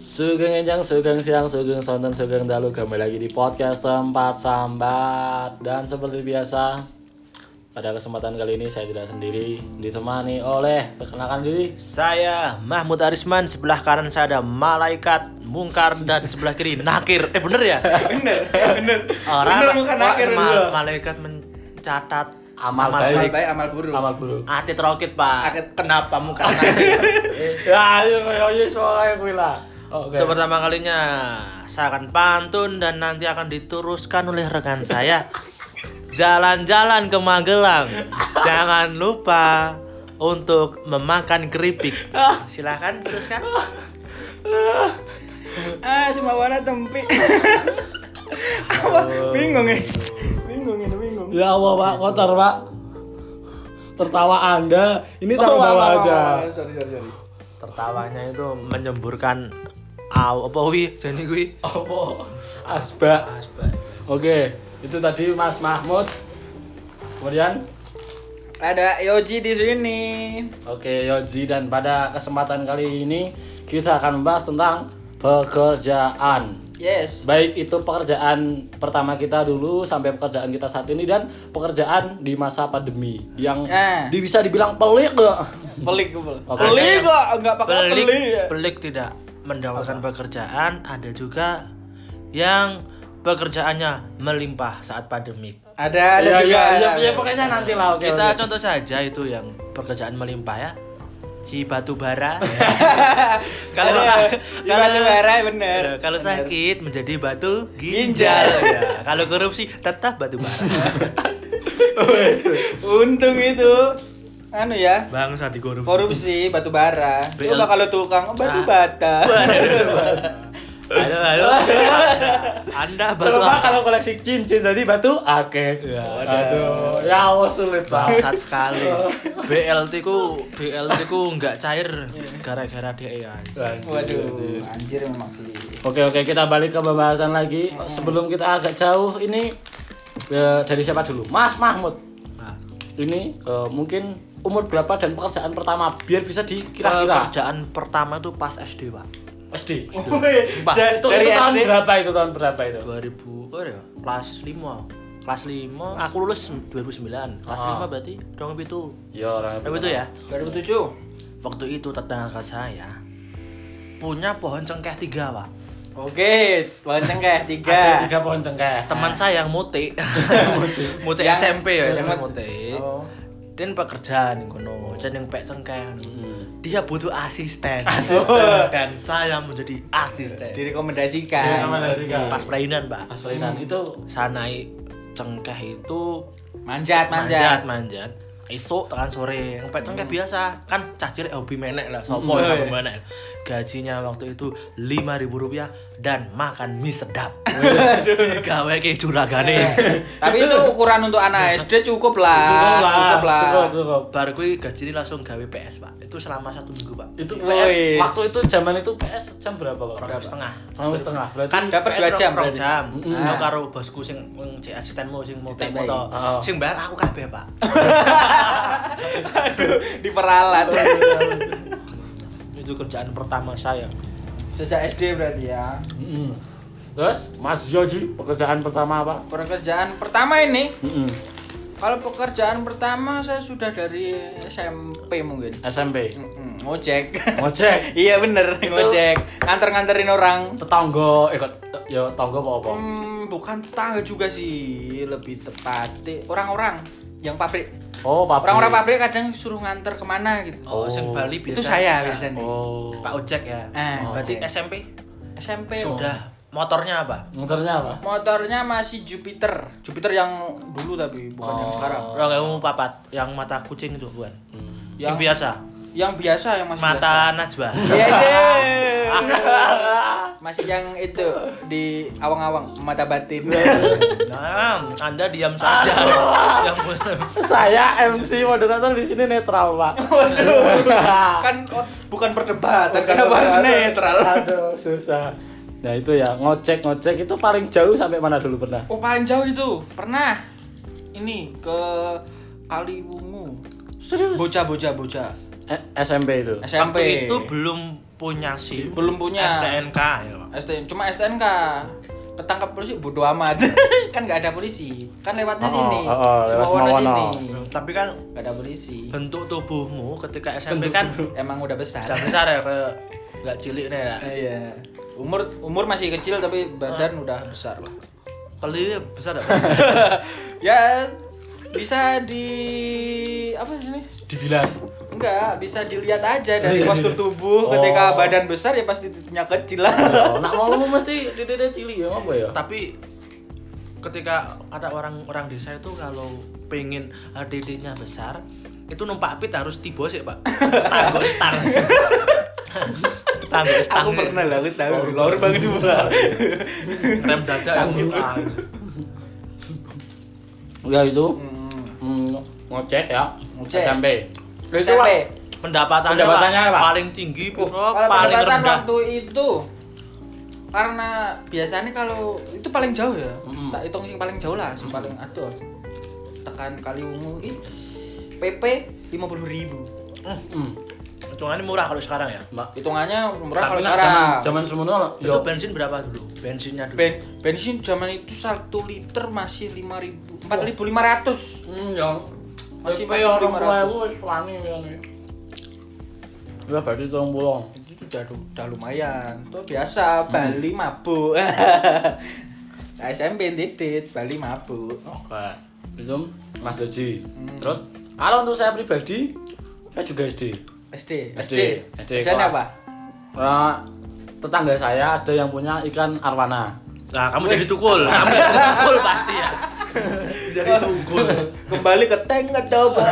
Sugeng Enjang, Sugeng Siang, Sugeng Sonten, Sugeng Dalu Kembali lagi di podcast Tempat Sambat Dan seperti biasa Pada kesempatan kali ini saya tidak sendiri Ditemani oleh Perkenalkan diri Saya Mahmud Arisman, sebelah kanan saya ada malaikat mungkar dan sebelah kiri nakir. Eh bener ya? bener bener Orang bener bukan akhir dulu malaikat mencatat Amal amal baik baik amal buruk Amal buruk Atit roket Pak. Atit. Kenapa muka nakir? Eh. Ya ayo ayo soalnya gue lah Oke Untuk pertama kalinya saya akan pantun dan nanti akan diteruskan oleh rekan saya. Jalan-jalan ke Magelang. Jangan lupa untuk memakan keripik. Silahkan teruskan. ah semua warna tempi apa Oh. bingung ya bingung ini bingung Ya Allah pak, kotor pak Tertawa anda Ini tawa tawa Oh, apa, apa, aja apa, sorry sorry sorry Tertawanya itu menyemburkan aw apa wi jadi wi Apa? Asbak Oke, itu tadi Mas Mahmud. Kemudian, ada Yoji di sini oke Yoji dan pada kesempatan kali ini kita akan membahas tentang pekerjaan. yes Baik itu pekerjaan pertama kita dulu sampai pekerjaan kita saat ini dan pekerjaan di masa pandemi yang Eh. di- bisa dibilang pelik eh. gak? pelik gue pelik Oke. pelik kok nggak pakai pelik, pelik pelik tidak mendapatkan pekerjaan ada juga yang pekerjaannya melimpah saat pandemik ada ada Ya, ya, juga ya, ada. ya, pokoknya nanti lah. oke, kita oke. contoh saja itu yang pekerjaan melimpah ya si batu bara Ya. kalau Ada, di batu bara, bener. Eh, kalau sakit menjadi batu ginjal ya. kalau korupsi tetap batu bara untung itu anu ya bangsa di korupsi korupsi batu bara BL. coba kalau tukang oh, batu Ah. bata halo halo anda batu Coba apa? kalau koleksi cincin tadi batu, oke. Ya, Aduh, ya Allah sulit banget. bangsat sekali BLT ku BLT ku nggak cair gara-gara dia ya Iya. waduh anjir memang sih Oke oke kita balik ke pembahasan lagi. Sebelum kita agak jauh ini eh, dari siapa dulu? Mas Mahmud. nah, Ini eh, mungkin umur berapa dan pekerjaan pertama biar bisa dikira-kira. pekerjaan eh, pertama itu pas SD pak SD. Wih, Sumpah. da- Itu, dari itu tahun SD. berapa itu tahun berapa itu? 2000 oh ya kelas 5 kelas 5 aku lulus 2009 kelas Ah. 5 berarti dong itu Ya orang itu ya 2007 waktu itu tetangga saya punya pohon cengkeh tiga pak Oke, pohon cengkeh Ada tiga. tiga pohon cengkeh. teman saya yang muti muti Nah. Yang- SMP ya yang SMP muti. muti Oh. dan pekerjaan kono dan yang pek cengkeh Hmm. dia butuh asisten Asisten. dan saya menjadi asisten Direkomendasikan. pas perainan pak Mas Ferdinand, itu sanai cengkeh itu Manjat, manjat manjat. manjat esok tekan sore ngepet cengkeh biasa kan cah cilik hobi menek lah sopo Hmm. ya hobi menek gajinya waktu itu lima ribu rupiah dan makan mie sedap digawe ke juragane Eh, Tapi itu ukuran untuk anak SD cukup lah. cukup lah, Ah, Cukup lah. cukup, cukup. baru kui gaji langsung gawe PS pak itu selama satu minggu pak Itu Wih. PS waktu itu zaman itu PS jam berapa, Pak? orang setengah Tahun setengah. Berarti kan dapat PS dua jam rong- rong berarti. jam Mm-mm. Aku karo bosku sing sing cek asistenmu sing mau Ditambahi. moto Oh. sing bayar aku kabeh pak Aduh, diperalat. itu kerjaan pertama saya Sejak SD berarti ya. Mm-mm. Terus Hmm. Mas Yoji pekerjaan pertama apa? Pekerjaan pertama ini, Mm-mm. kalau pekerjaan pertama saya sudah dari SMP mungkin. SMP. Mm-mm, Ngojek. Ngocek. iya bener, Itu- ngojek. Nganter-nganterin orang. Tetangga, eh kok te- ya tangga apa apa? Hmm, bukan tetangga juga sih, lebih tepatnya orang-orang yang pabrik. Oh, pabrik. Orang-orang pabrik kadang suruh nganter kemana gitu. Oh. oh, sing Bali biasa itu saya ya. biasanya. Oh. pak ojek ya Eh, Oh. berarti ojek. Oh. SMP SMP sudah motornya apa Muternya apa? Motornya masih Jupiter. Jupiter yang dulu tapi bukan yang Oh. sekarang. orang kamu papat yang mata kucing itu bukan Hmm. yang, Yang biasa yang biasa yang masih mata najwa biasa. Iya, deh. masih yang itu di awang-awang mata batin. Iya, nah anda diam saja Ah. yang bener. Saya MC moderator di sini netral, Pak. kan oh, bukan Bukan perdebatan, kenapa harus moderator. netral? Aduh, susah. Nah, itu ya, ngocek-ngocek itu paling jauh sampai mana dulu pernah? Oh, paling jauh itu. Pernah ini ke Kaliwungu. Serius? Bocah-bocah bocah. eh, SMP itu. SMP waktu itu belum punya SIM, Belum punya. STNK ya, Pak. STN cuma STNK ketangkap polisi bodo amat kan nggak ada polisi kan Oh, lewatnya sini oh, oh, lewat Semowono Semowono. sini Tapi kan nggak ada polisi bentuk tubuhmu ketika SMP kan emang udah besar sudah besar ya kayak nggak cilik nih ya. iya umur umur masih kecil tapi badan udah besar lah Kelilingnya besar ya. ya bisa di apa sini Dibilang. enggak bisa dilihat aja dari postur tubuh ketika badan besar ya pasti titinya kecil lah Oh, nak ngomong mesti dede cili ya apa ya? Tapi ketika kata orang-orang desa itu kalau pengen eh, dedenya besar itu numpak pit harus tiba sih pak tangguh stang tangguh stang aku pernah lah aku tahu lor banget juga rem dada yang Sanggup. ah, Ya itu Hmm. hmm, ngecek ya. Ngecek. SMP. Itu SMP. Pak. pendapatannya, Pendapatannya, pak, Pak. paling tinggi piro, Kalau paling perdebatan rendah waktu itu karena biasanya kalau itu paling jauh ya. Mm-mm. Tak hitung sing paling jauh lah, sing paling atur. Tekan kali ungu ini PP 50.000. Hmm. hitungannya murah kalau sekarang ya Mbak. Hitungannya murah Tapi kalau nak zaman sekarang. zaman semono lah. itu bensin berapa dulu bensinnya dulu Ben- bensin zaman itu 1 liter masih 5.000, 4.500. Hmm, ya. Masih Tapi ya orang 500. tua aku wis wani ngene. Ya berarti 30. Itu udah, udah lumayan. Itu biasa Bali mabuk. Nah, SMP didit Bali mabuk. Oh, Oke. Itu Mas Doji. Hmm. Terus kalau untuk saya pribadi saya juga SD. SD. SD, SD. SD SD kelas. apa? Eh, tetangga saya ada yang punya ikan arwana. nah kamu jadi tukul kamu jadi tukul pasti ya jadi tukul kembali ke tank atau apa?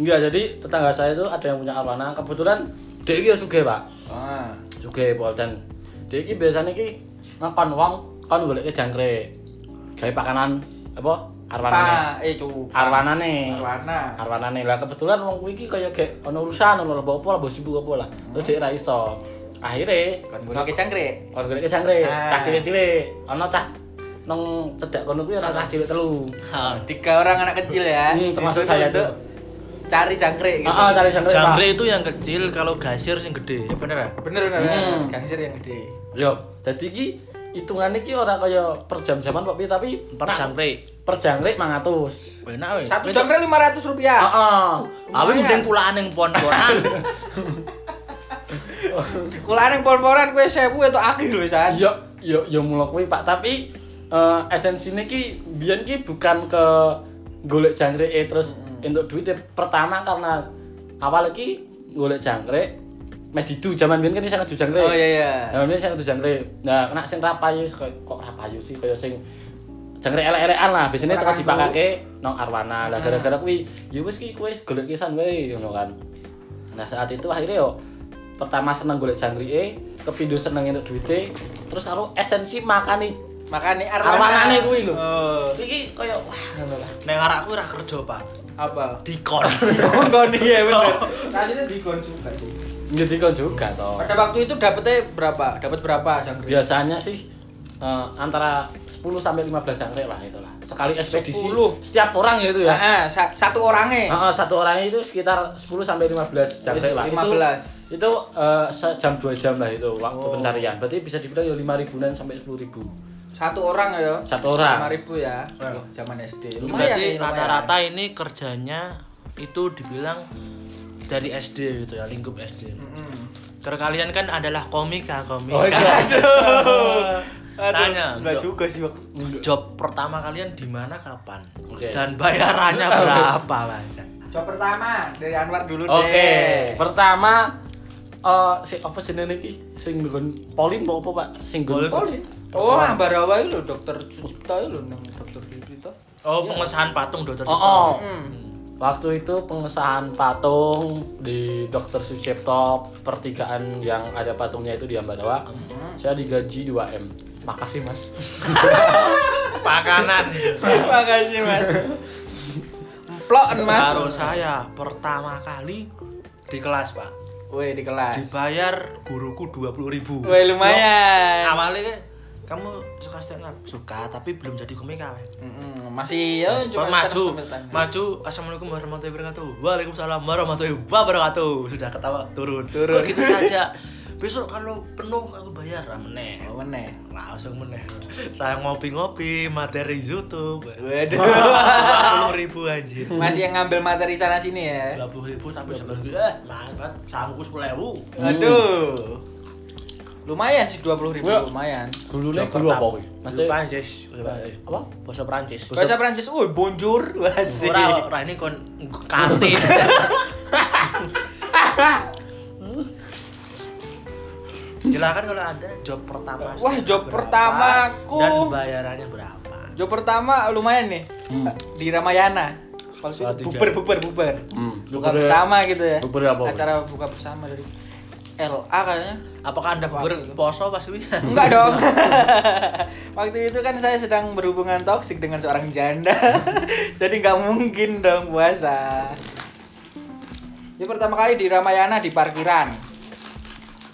Enggak, jadi tetangga saya itu ada yang punya arwana. Kebetulan dia iki ya sugih, Pak. Ah, Sugih Polten. Dia iki biasanya iki ngakon wong kon golek jangkrik. Gawe pakanan apa? Arwanane. pa, eh cu. Arwanane. Arwana. Arwanane. Lah kebetulan wong kuwi iki kaya gek ana urusan ono apa apa lah mbok sibuk apa lah. Terus dia ra iso. Akhire Kan gue pakai cangkrik. kon golek jangkrik, Ah. cah cilik-cilik. Ana cah nang cedak kono kuwi ana cah cilik telu. Tiga orang anak kecil ya. Hmm, termasuk disuruh saya untuk tuh. Ah, Cari cangkrik gitu. Heeh, cari jangkrik. Pak. jangkrik itu yang kecil kalau gasir yang gede ya bener ya Bener bener. Hmm. bener. Gangsir yang gede. Yo, jadi ki hitungannya ki ora kaya per jam jaman Pak Pi, tapi per jangkrik per jangkrik 500. enak weh Satu cangkrik lima ratus Heeh. rupiah. Awi mending kulaan yang pon-ponan. Kulaan yang pon-ponan kue sewu itu akhir loh san. Yo yo yo mulo kuwi Pak, tapi eh esensinya ki biyen ki bukan ke golek jangkrik eh, terus untuk duit ya. pertama karena awal ki golek jangkrik meh didu jaman biyen kan iso ngedu jangkrik. Oh iya iya. Nah, ini sing kudu jangkrik. Nah, kena sing rapayu kok kok rapayu sih kaya sing jangkrik elek-elekan lah. Biasanya teko Orang dipakake nang arwana. Lah gara-gara kuwi ya wis ki kowe golek kisan wae ngono kan. Nah, saat itu akhirnya yo pertama seneng golek jangkrike, kepindo seneng entuk duite, terus karo esensi makani. Makanya arwana. Arwanane kuwi lho. Oh, Iki kaya wah ngono lah. Neng arakku ora kerja, Pak. apa? Dikon. Oh, goni ya bener. Rasanya dikon juga sih. Jadi kok juga toh. Pada waktu itu dapetnya berapa? Dapat berapa jangkrik? biasanya sih eh, antara 10 sampai 15 jangkrik lah itulah sekali ekspedisi 10. setiap orang ya itu ya Ah, ah, sa- satu orangnya. Heeh, satu orangnya itu sekitar 10 sampai 15 jam lah. Itu, 15. itu eh, sejam dua jam lah itu waktu pencarian. Berarti bisa dibilang ya 5 ribuan sampai 10 ribu. Satu orang ya. Satu lima orang. ribu ya Loh, zaman SD Lumayan Berarti nih, lumayan. rata-rata ini kerjanya itu dibilang dari SD gitu ya, lingkup SD. Mm-mm. Karena kalian kan adalah komika, komika. Oh, iya. Aduh, Tanya, Dok. enggak juga sih waktu Job pertama kalian di mana kapan? Oke. Dan bayarannya berapa, Mas? Job pertama dari Anwar dulu Oke. deh Pertama eh si apa jenenge iki? Sing nggon Polin apa Pak? Sing nggon Polin. Polin Oh, Ambarawa itu loh, dokter Sucipto itu loh, nang dokter Sucipto Oh, pengesahan patung dokter. Oh, oh. Hmm. Waktu itu pengesahan patung di Dr. Sucipto pertigaan yang ada patungnya itu di Ambarawa. Saya digaji 2M. Makasih, Mas. Pakanan. Terima kasih mas Emplokan mas Baru saya pertama kali di kelas, Pak. Woi di kelas Dibayar guruku 20.000. Woi lumayan awalnya kan kamu suka stand up suka tapi belum jadi komika weh Mm-mm, masih ya Cuma cuma maju, sekarang sambil tanya. maju. Assalamualaikum warahmatullahi wabarakatuh. Waalaikumsalam warahmatullahi wabarakatuh. Sudah ketawa turun. Turun. Kok gitu saja. Besok kalau penuh aku bayar ah, meneh. Oh, meneh. Langsung meneh. Saya ngopi-ngopi materi YouTube. Waduh. Eh. 20 ribu anjir. masih yang ngambil materi sana sini ya. 20 ribu tapi sebenarnya eh mantap. Sangku 10 ribu. Hmm. Aduh. Lumayan sih 20 ribu Yuk. lumayan. Gulune gulu apa kuwi? Bahasa Maksudnya- Prancis. Bahasa Prancis. Apa? Bahasa Prancis. Bahasa Prancis, oh bonjour, Prancis. wasi. Ora ora ini kon kantin. Silakan kalau ada job pertama. Wah, stand up job berapa pertamaku. Dan bayarannya berapa? Job pertama lumayan nih. Di Ramayana. Kalau sudah Satu bubar jam. bubar bubar. Hmm, Buka bubarnya- bersama gitu ya. bubarnya apa? Acara buka bersama dari LA kayaknya. Apakah anda Wah, itu. berposo pas wi? Enggak dong. Waktu itu kan saya sedang berhubungan toksik dengan seorang janda. Jadi nggak mungkin dong puasa. Ini pertama kali di Ramayana di parkiran.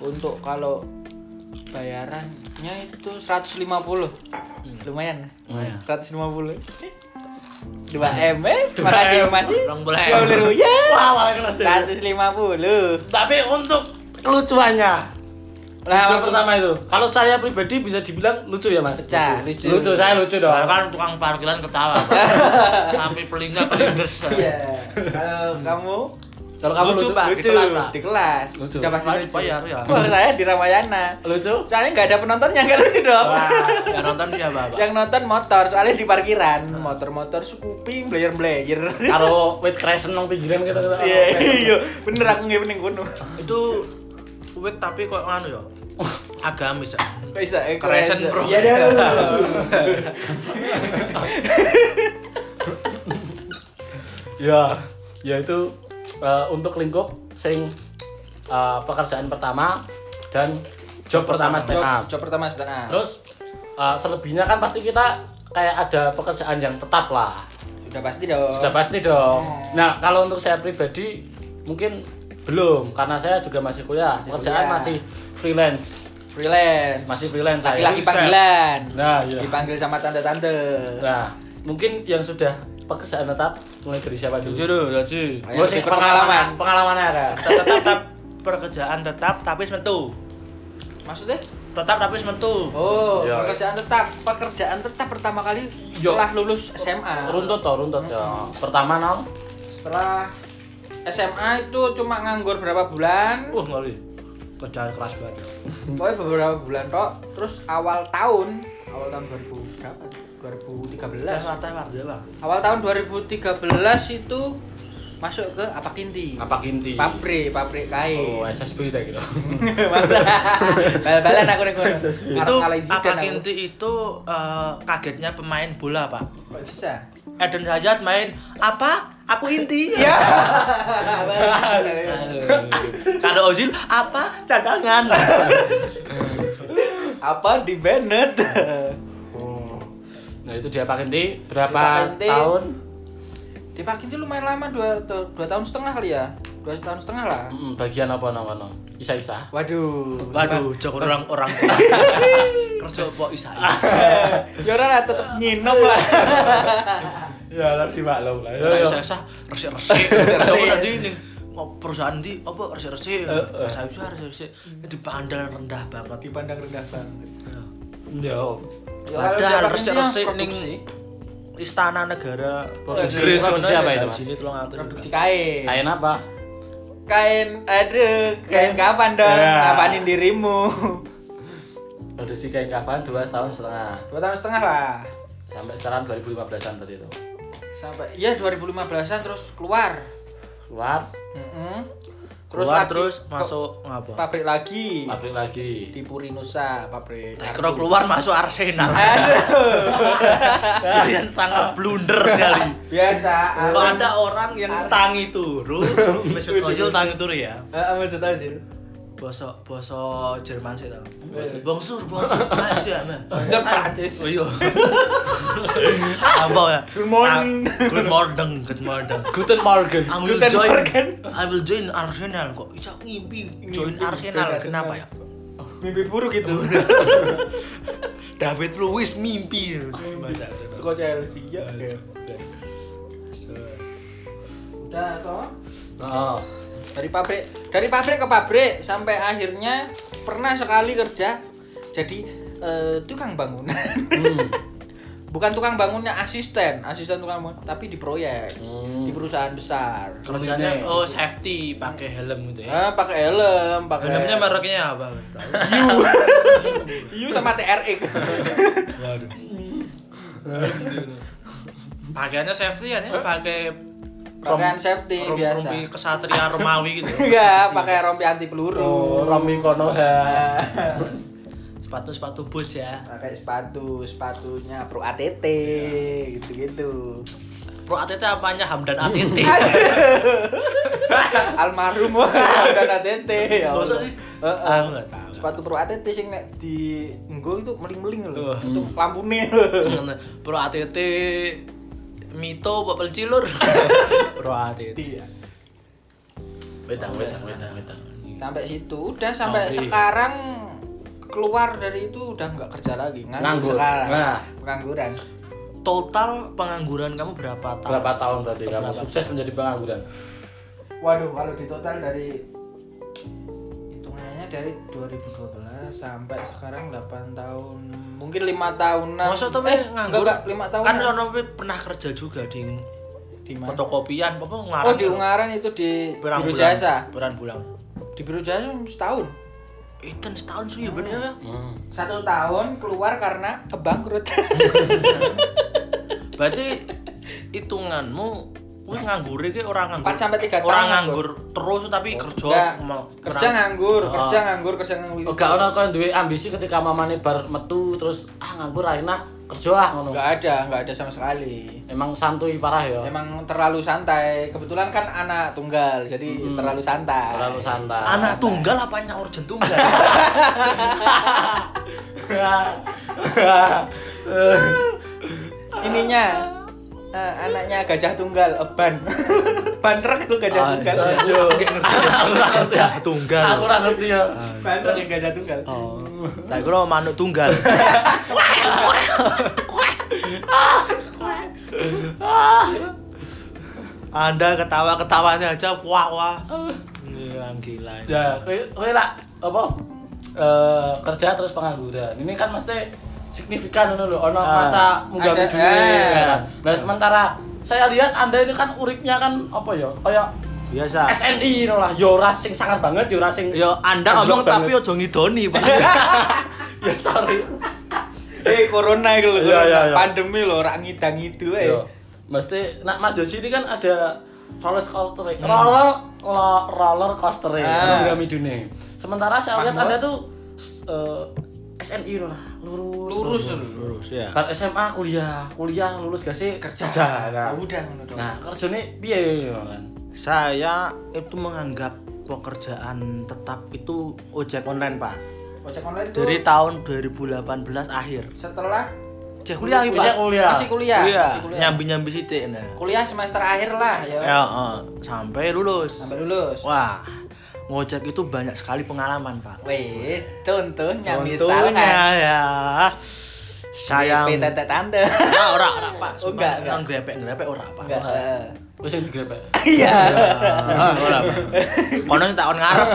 Untuk kalau bayarannya itu 150. Iya. Lumayan. Lumayan. 150. 2 Eh, M eh? M. Iya. Makasih Mas. Orang boleh. Boleh ya. Wah, malah kelas deh. 150. Tapi untuk kelucuannya lucu Lah, Nah, waktu- pertama itu. Kalau saya pribadi bisa dibilang lucu ya, Mas? Pecah, Iya, lucu. Lucu, saya lucu dong. Bahkan kan tukang parkiran ketawa. Sampai pelingnya pelindes. Iya. Kalau kamu Kalau kamu Lucu, lucu, Pak. lucu di kelas, Pak. di kelas. Lucu. Udah pasti Saya lucu. dibayar, ya. Wah, saya di Ramayana. Lucu? Soalnya nggak ada penontonnya nggak lucu dong. Wah, yang nonton siapa? Pak? Yang nonton motor, soalnya di parkiran, motor-motor sekuping, blayer-blayer. Kalau wit crescent nang pinggiran gitu gitu. Iya, iya, bener aku nggak pening kuno. Itu wit tapi kok anu ya? Agamis ya. Kok bisa? Eh, Keresen, keresen. bro. Iya, dah. Ya, ya itu eh, untuk lingkup sing eh, pekerjaan pertama dan job pertama stand Coba up. coba pertama Ah. stand up. Terus eh, selebihnya kan pasti kita kayak ada pekerjaan yang tetap lah. Sudah pasti dong. Sudah pasti dong. Nah, kalau untuk saya pribadi mungkin belum karena saya juga masih kuliah. pekerjaan kuliah. masih freelance. Freelance. Masih freelance saya. laki-laki panggilan. Nah, iya. Dipanggil sama tante-tante. Nah, mungkin yang sudah pekerjaan tetap mulai dari siapa dulu? Jujur jadi. Gue sih Lebih pengalaman, pengalamannya kan. tetap tetap pekerjaan tetap tapi sementu Maksudnya? tetap tapi sementu Oh, Iya. pekerjaan tetap, pekerjaan tetap pertama kali Yo. setelah lulus SMA. Runtut toh, runtut ya. Pertama nang Setelah SMA itu cuma nganggur berapa bulan, wah ngeri kerjaan keras banget pokoknya beberapa bulan tok. Terus awal tahun, awal tahun 2000 berapa? 2013. santai pak dia pak Awal tahun 2013 itu masuk ke apa kinti? apa kinti? Pabrik, pabrik kain. Oh, SSB itu gitu. Masa? Bal-balan aku nih kono. itu Arep ngalahin Zidane apa aku. kinti itu eh, kagetnya pemain bola pak Kok bisa? Eden Hazard main apa aku inti Iya. kalau Ozil apa cadangan apa di Bennett? Nah, itu dia apa kinti berapa Apa Kinti? tahun? Di Pakin itu lumayan lama dua, dua, dua tahun setengah kali ya dua tahun setengah lah Mm, bagian apa nang kono? Isa-isa. waduh waduh jok orang orang kerja kok isa Ah, ya udah lah tetep nyinom lah Ya, tapi maklum lah. saya sah resik resik resik tadi nih perusahaan di apa resik resik Eh, saya usah resik resik di bandar rendah banget dipandang rendah banget Ya. padahal resik resik ning istana negara Produksi- Inggris produksi ngono apa ya, itu, di Mas? sini tolong atur produksi kain kain, Kain apa? aduh kain kapan dong Ya. ngapain dirimu Produksi kain kafan 2 tahun setengah dua tahun setengah lah sampai sekarang 2015-an berarti itu. sampai ya 2015an terus keluar Keluar Mm-mm. terus Keluar, lagi terus ke masuk ngapa pabrik lagi pabrik lagi. di Purinusa pabrik Tak kira keluar masuk Arsenal Eh, Kalian sangat blunder sekali biasa Ah. Kalau ada orang yang tangi turu Mesut Ozil tangi turu ya Eh, maksud aku sih Boso, boso Jerman sih tau Bongsur, bongsur, aja Bongsur Prancis. Oh iya Apa ya? Good morning. Ah, Good morning, good morning Guten Morgen. I will Guten join, Morgen. I will join Arsenal kok Ica ngimpi join Mimpi, Arsenal, ya? join kenapa ya? Mimpi buruk itu. David Luiz mimpi. Masa, Suka Chelsea ya. Oke. Udah toh. Oh, Dari pabrik, dari pabrik ke pabrik sampai akhirnya pernah sekali kerja jadi eh, tukang bangunan. Hmm. Bukan tukang bangunnya asisten, asisten tukang bangun, tapi di proyek, Hmm. di perusahaan besar. Kerjanya oh safety pakai helm gitu ya. Ah, eh. pakai helm, pakai Helmnya mereknya apa? Tahu. Iu Iya, sama TRX. Waduh. Pakaiannya safety ya, nih, pakai Pakaian safety rom- biasa. rompi kesatria Romawi gitu. Enggak, pakai rompi anti peluru. oh Romi Konoha. Sepatu-sepatu boots ya. pakai sepatu, sepatunya pro ATT Iya. gitu-gitu. Pro ATT apanya Hamdan ATT. Almarhum dan ATT Nggak ya. Allah. usah sih. Heeh. Aku nggak tahu. Sepatu pro ATT sing nek di nggo itu meling-meling Oh. loh. Itu lampune lho. Pro ATT Mito Bapak Cilur. Pro ATT. Iya. Wedang, wedang, wedang, wedang. Sampai situ udah sampai Oke. sekarang keluar dari itu udah nggak kerja lagi Nganggur. nganggur, sekarang Nah. pengangguran Total pengangguran kamu berapa tahun? Berapa tahun berarti kamu Berapa sukses menjadi pengangguran? waduh kalau di total dari hitungannya dari 2012 sampai sekarang 8 tahun mungkin lima tahunan Masa tuh eh, nganggur? enggak, enggak, lima tahun ya. Kan ono Pe pernah kerja juga di di mana? fotokopian, apa ngarang. oh di Ungaran itu di Berang Biro bulan. Jasa Berang bulan. di Biro Jasa setahun Itu setahun sih ya bener ya. Hmm. satu tahun keluar karena kebangkrut Berarti hitunganmu kuwi nganggur iki ora nganggur. Empat sampai tiga Ora tahun, nganggur terus tapi kerja Enggak, mau- kerja kurang- nganggur Oh. kerja nganggur kerja nganggur Oh, Gak ono kon duwe ambisi ketika mamane bar metu terus ah nganggur ra enak kerja ah ngono. nggak ada nggak ada sama sekali Emang santuy parah ya. Emang terlalu santai. Kebetulan kan anak tunggal, jadi terlalu santai. Terlalu santai. Anak tunggal apa nyaur tunggal? Ininya eh, anaknya gajah tunggal, eh, eban. Bandrek lu gajah Ah, tunggal. iya. Aduh. Aku ora kerja. tunggal. Aku ora ngerti ya. Bandrek yang gajah tunggal. Oh. Saya kira manuk tunggal. Anda ketawa-ketawanya aja wah wah. Gila gila. ini. Ya, kowe kowe lah apa eh, kerja terus pengangguran. Ini kan mesti signifikan ngono lho, ono Ah. masa munggah Ada- duit. eh. ya kan. Nah, sementara saya lihat Anda ini kan uripnya kan apa ya? Kayak Biasa. SNI no lah, yo ras sing sangar banget, yo ras sing Nah. Yo Anda anjlok ngomong tapi banget. ojo ngidoni, Pak. ya sorry. Eh corona itu lho, Iya, corona. iya, iya. pandemi lho, rak ngidang itu eh. Yo, mesti nak Mas Yosi ini kan ada roller coaster, roller lo- roller coaster Ah. kami dunia. Sementara saya lihat Mahmud. Anda tuh s- eh, SNI no lah, lurus. Lurus lho. Terus ya. Bar SMA kuliah, kuliah lulus gak sih Kerja. Oh, nah. Udah ngono dong. Nah, kerjane piye yo kan? Saya itu menganggap pekerjaan tetap itu ojek online, Pak. Ojek online itu Dari tahun 2018 akhir. setelah Cek kuliah, iki, Bisa Pak. kuliah. masih kuliah, masih kuliah. Nyambi-nyambi sithik nah. Kuliah semester akhir lah ya. Ya, eh, sampai lulus. Sampai lulus. Wah, ngojek itu banyak sekali pengalaman, Pak. Wes, contohnya, Contohnya Ya, misalkan ya. Saya PP tetek tante. Ora, Ah, ora, ora, Pak. Oh, enggak, enggak. Nang grepek-grepek ora, Pak. Enggak. eh. Wis sing digrepek. Iya. Ah, Ora, Pak. Kono sing takon ngarep.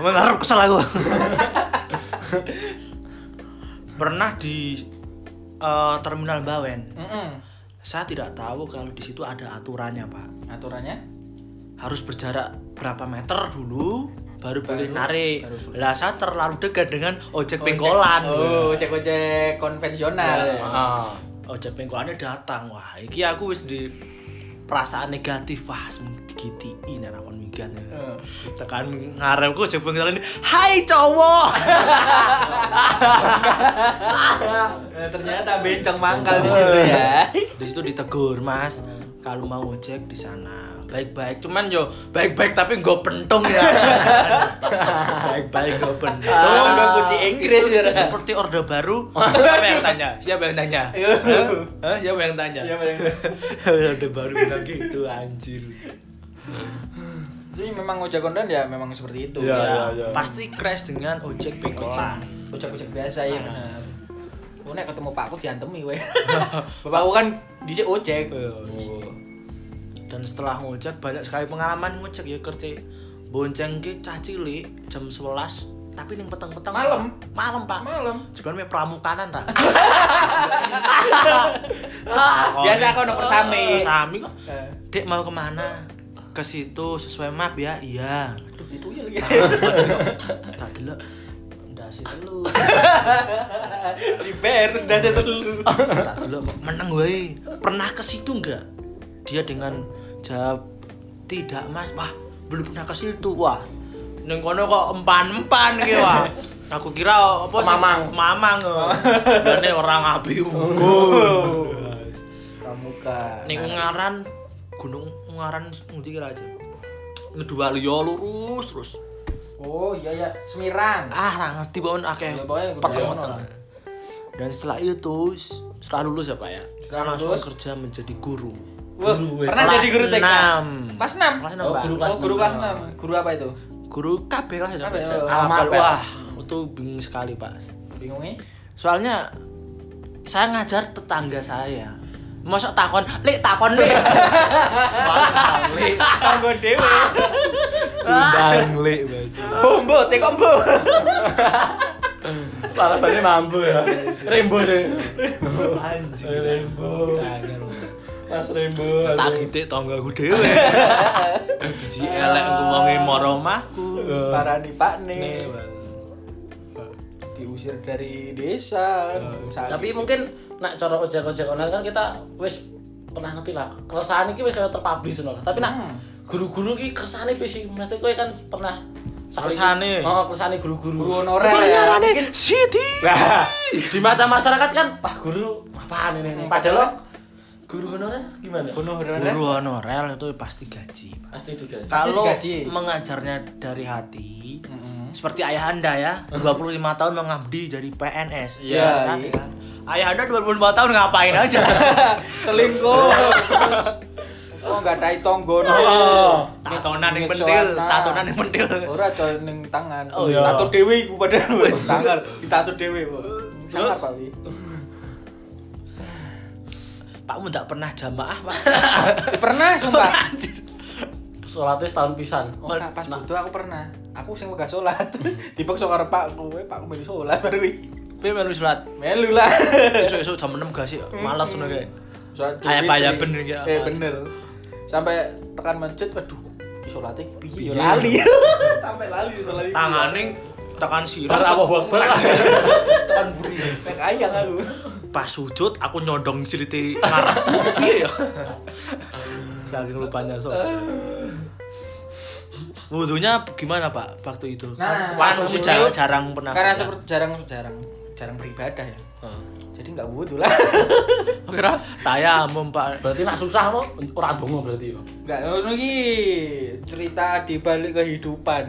Emang ngarep kesel aku. Pernah di eh, terminal Bawen. Mm-mm. Saya tidak tahu kalau di situ ada aturannya, Pak. Aturannya? harus berjarak berapa meter dulu baru boleh narik. Lah saya terlalu dekat dengan ojek pengkolan. Oh, ojek-ojek konvensional. Heeh. Ojek pengkolannya datang. Wah, iki aku wis di perasaan negatif wah digiti ini rakon migan ya. tekan ngarepku ojek pengkolan ini hai cowok Eh, ternyata bencong mangkal di situ ya. di situ ditegur mas kalau mau ojek di sana baik-baik cuman yo baik-baik tapi gue pentung ya baik-baik gue pentung Oh, nggak kunci Inggris itu, ya. Oh. itu seperti orde baru siapa yang tanya siapa yang tanya Hah? Hah? siapa yang tanya Iya. Siapa yang- orde baru bilang gitu anjir Jadi memang ojek online ya memang seperti itu. Iya. Ya, ya. iya. pasti crash dengan ojek pengkolan Bocah-bocah biasa ya benar. Oh, nek ketemu Pakku diantemi we. Bapakku kan dhisik ojek. iya. Oh. Dan setelah ngojek banyak sekali pengalaman ngojek ya kerti bonceng ki cah cilik jam 11 tapi ning peteng-peteng Malam. Pak. malam pak Malam. Cuman me pramukanan ta. Biasa aku nomor Oh, sami. Sami kok. Eh, Dek mau kemana? Ke situ sesuai map ya. Iya. Aduh, itu ya lagi. Tak delok. Ndase telu. si Bear terus dasar telu. Tak delok kok meneng wae. Pernah ke situ enggak? Dia dengan jawab tidak Mas. Wah, belum pernah ke situ. Wah. Ning kono kok empan-empan ki wah. Aku kira apa sih? Mamang. Mamang. eh. Sebenarnya orang abi Oh. Pramuka. Ning ngaran gunung ngaran ngendi kira aja. Kedua liya lurus terus. Oh iya ya, Semirang. Ah, ra ngerti pokoknya akeh. Ya, pokoknya kudu pakai ngono lah. Dan setelah itu s- setelah lulus ya Pak ya. Saya Setelah langsung lulus. kerja menjadi guru. Wah, Guru, we. pernah Kelas jadi guru TK. enam. Kelas 6. Kelas enam, Oh, Pak. guru kelas 6. Guru kelas 6. Guru apa itu? Guru KB lah ya. KB, Pak. ya. Apel. Apel. Wah, itu bingung sekali Pak. Bingungnya? Soalnya saya ngajar tetangga saya. Mosok takon, "Lek takon, Lek." Tanggo dewe. Undang, Lek. berarti. Bombo, tekombo. Parapannya mampu ya. Rembo deh. Rembo. Mas Rembo. tak gitik tanggaku dhewe. Biji elek ngomongin moro omahku. Uh, Para di Pak Nih, nih Bang. diusir dari desa. Sakit. Tapi mungkin nak cara ojek-ojek online kan kita wis pernah ngerti lah. Keresahan iki wis kayak terpublish ngono lah. Tapi nak Hmm. guru-guru iki keresahane visi mesti kowe kan pernah saking- Keresahane. Oh, keresahane guru-guru. guru honorer. Bayarane Siti. Nah, di mata masyarakat kan, "Wah, guru apaan ini?" nih?" Padahal lo, guru honorer gimana? Guru honorer. Guru honorer itu pasti gaji. Pak. Pasti juga. Kalau digaji. mengajarnya dari hati, Mm-mm. seperti ayahanda ya, 25 tahun mengabdi jadi PNS. Iya, kan? iya. Ayahanda 25 tahun ngapain aja? Selingkuh. Oh, enggak tai tonggo. Oh. tatonan yang pentil, tatonan yang pentil. Oh, Ora coy ning tangan. Oh, Oh, iya. Tato dhewe iku padahal wis tangan, ditato dhewe kok. Terus Terus? apa iki? Pakmu tidak pernah jamaah, Pak. Pernah sumpah. Sholatnya setahun pisan. Oh, nah, pas butuh aku pernah. Aku sing megah salat. Dipaksa karo Pak kowe, Pak melu salat baru iki. Tapi baru sholat. Melu lah. Esok-esok jam 6 gak sih? Males ngono kayak. Salat Ayah dhewe, payah Tri. bener iki, Eh apa? bener. Sampai tekan masjid, aduh, iki salate piye Piye? ya lali. Sampai lali salat. Tanganing tekan sirat. Allahu Akbar. tekan buri. nek ayang aku. Pas sujud aku nyodong cerita ngarepku piye ya? Saking lupanya so. Wudhunya gimana Pak waktu itu? Nah, pas waktu masih itu- jarang, jarang pernah. Karena sholat. seperti jarang jarang jarang beribadah ya. Nah, Heeh. Jadi enggak wudu lah. Aku kira tayamum Pak. Berarti nak susah lo, orang dongo berarti. Enggak, ngono iki cerita di balik kehidupan.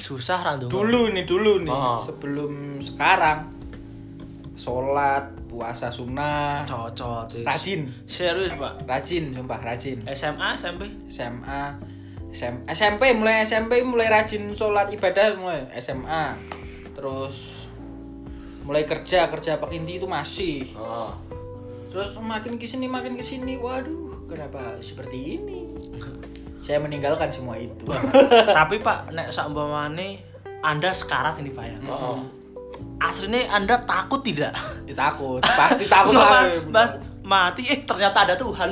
Susah randu. Dulu nih, dulu nih, Ah. sebelum sekarang. Sholat, puasa sunnah, cocok. tis. Rajin. Serius Pak. rajin, sumpah rajin. SMA SMP SMA, SM, SMP mulai SMP mulai rajin sholat ibadah mulai SMA. Terus mulai kerja kerja pak inti itu masih Oh. terus makin kesini makin kesini waduh kenapa seperti ini saya meninggalkan semua itu tapi pak nek saumpamane anda sekarat ini pak ya Oh. aslinya anda takut tidak Ya, takut pasti takut Mas, lah mas mati eh ternyata ada Tuhan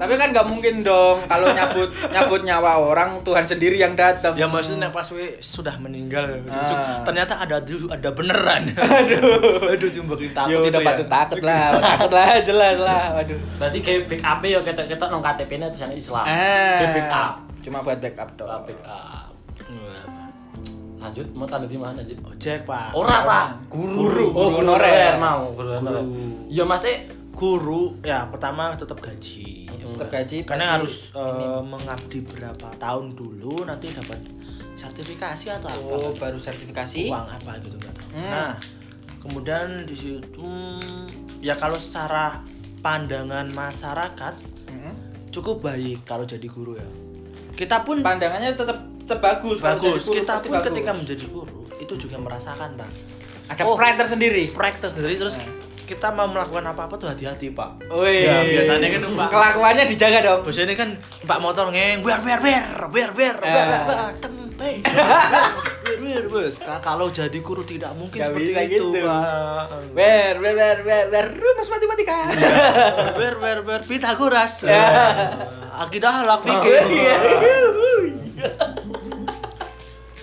tapi kan nggak mungkin dong kalau nyabut nyabut nyawa orang Tuhan sendiri yang datang ya maksudnya nek pas we sudah meninggal ya, ujung-ujung, Ah. ternyata ada ada beneran aduh aduh cuma kita ya takut itu udah ya patut takut lah takut lah jelas lah waduh Berarti kayak pick up ya ketok-ketok nang KTP-nya tulisannya Islam. ah Kayak pick up. cuma buat backup Doa doang pick up. Lanjut, mau tanda di mana lanjut? ojek pak Ora Ah, pak, Guru, Oh, guru guru honorer honorer. mau, guru honorer. Iya mesti guru ya pertama tetap gaji tergaji karena pasti harus eh, mengabdi berapa tahun dulu nanti dapat sertifikasi atau apa oh baru sertifikasi uang apa gitu nggak tahu. Hmm. Nah, kemudian di situ ya kalau secara pandangan masyarakat Mm-mm. cukup baik kalau jadi guru ya. Kita pun pandangannya tetap tetap bagus kalau bagus, jadi guru kita pasti pun bagus. ketika menjadi guru itu itu juga merasakan pak Ada Oh. pride tersendiri. praktek sendiri terus Nah. kita mau melakukan apa apa tuh hati-hati pak Wih. Ya, biasanya kan, Pak. Kelakuannya dijaga dong. biasanya kan pak motor ngeng ber ber ber ber ber ber Eh. ber tempe ber ber bos Ka- kalau jadi guru tidak mungkin Nggak seperti bisa itu gitu. pak Wer, wer, wer, wer, wer, rumus matematika. ber ber ber Pitagoras Ya. akidah halak Wih, fikir iya.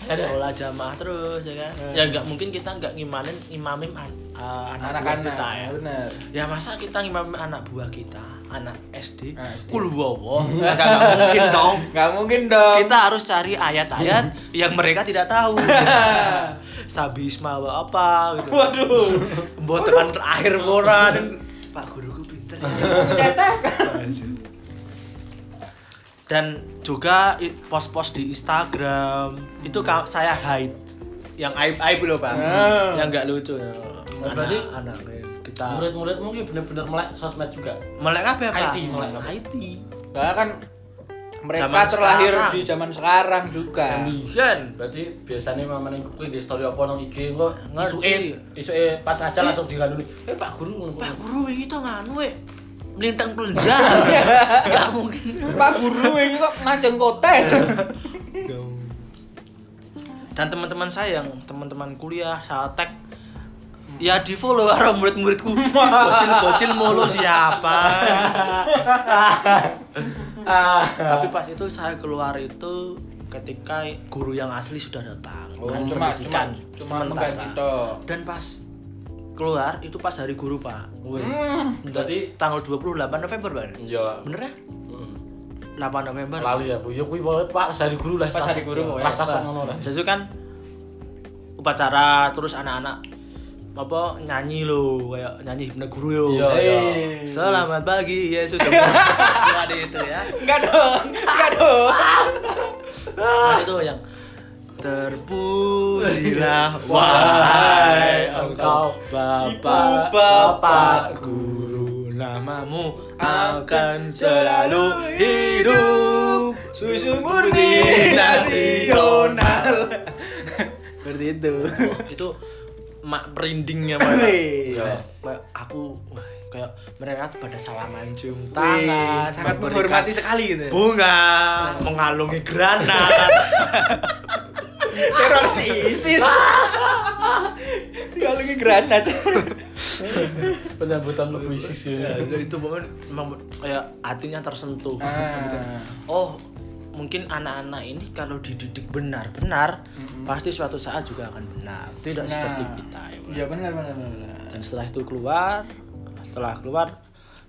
kan sholat jamaah terus ya kan ya nggak mungkin kita nggak ngimamin ngimamin an- eh, anak buah Anak-anak, kita ya bener. ya masa kita ngimamin anak buah kita anak SD Ah, SD. kulwowo nggak nggak mungkin dong Gak mungkin dong. kita harus cari ayat-ayat yang mereka tidak tahu sabi isma wa apa gitu Waduh. buat tekan akhir koran pak guruku pinter ya Cetek. dan juga i- post-post di Instagram itu ka- saya hide yang aib aib loh pak Hmm. yang nggak lucu ya. Nah, berarti- anak kita Ah. Murid-muridmu ki bener-bener melek sosmed juga. melek apa ya pak IT, melek apa? IT Nah, kan mereka Zaman terlahir sekarang. di zaman sekarang juga. Iya, Ambian. Berarti biasanya mamane kuwi di story apa nang IG engko Ngerti. isuke isuke pas ngajar langsung diranduli. Eh Pak Guru ngono. pak guru ini tuh nganu eh melintang pelenjar nggak mungkin Pak guru ini kok ngajeng kotes. Iya. dan teman-teman saya yang teman-teman kuliah satek ya di follow karo murid-muridku bocil-bocil mulu siapa Ah. tapi pas itu saya keluar itu ketika guru yang asli sudah datang Oh, Kan cuma cuma pendidikan cuma sementara. mengganti tok. dan pas keluar itu pas hari guru pak Wis. berarti Berarti tanggal 28 November pak ya bener ya mm, 8 November lali aku. Ya kuwi boleh Pak sari guru lah. Pas hari guru, ya, Pas sasa Pak. ngono lah. Jadi itu kan upacara terus anak-anak apa nyanyi lo kayak nyanyi himne guru Iya, yo. Eh, iya. Selamat pagi Yesus. Ada itu ya. Enggak dong. Enggak dong. Nah, itu yang terpujilah wahai engkau Ibu Bapak Bapa Bapak Guru namamu akan selalu hidup Susu murni nasional. Seperti itu. itu mak perindingnya Pak. Wih. Ya, kayak aku wah, kayak mereka tuh pada salaman cium Wih, tangan sangat memberikan menghormati sekali gitu. bunga mengalungi granat Teroris ISIS. Dia lagi granat. Penyambutan mlebu ISIS ya. Ya, itu momen memang kayak hatinya tersentuh Ah. oh mungkin anak-anak ini kalau dididik benar-benar pasti suatu saat juga akan benar tidak Nah. seperti kita ya, Pak. Iya benar benar benar. dan setelah itu keluar setelah keluar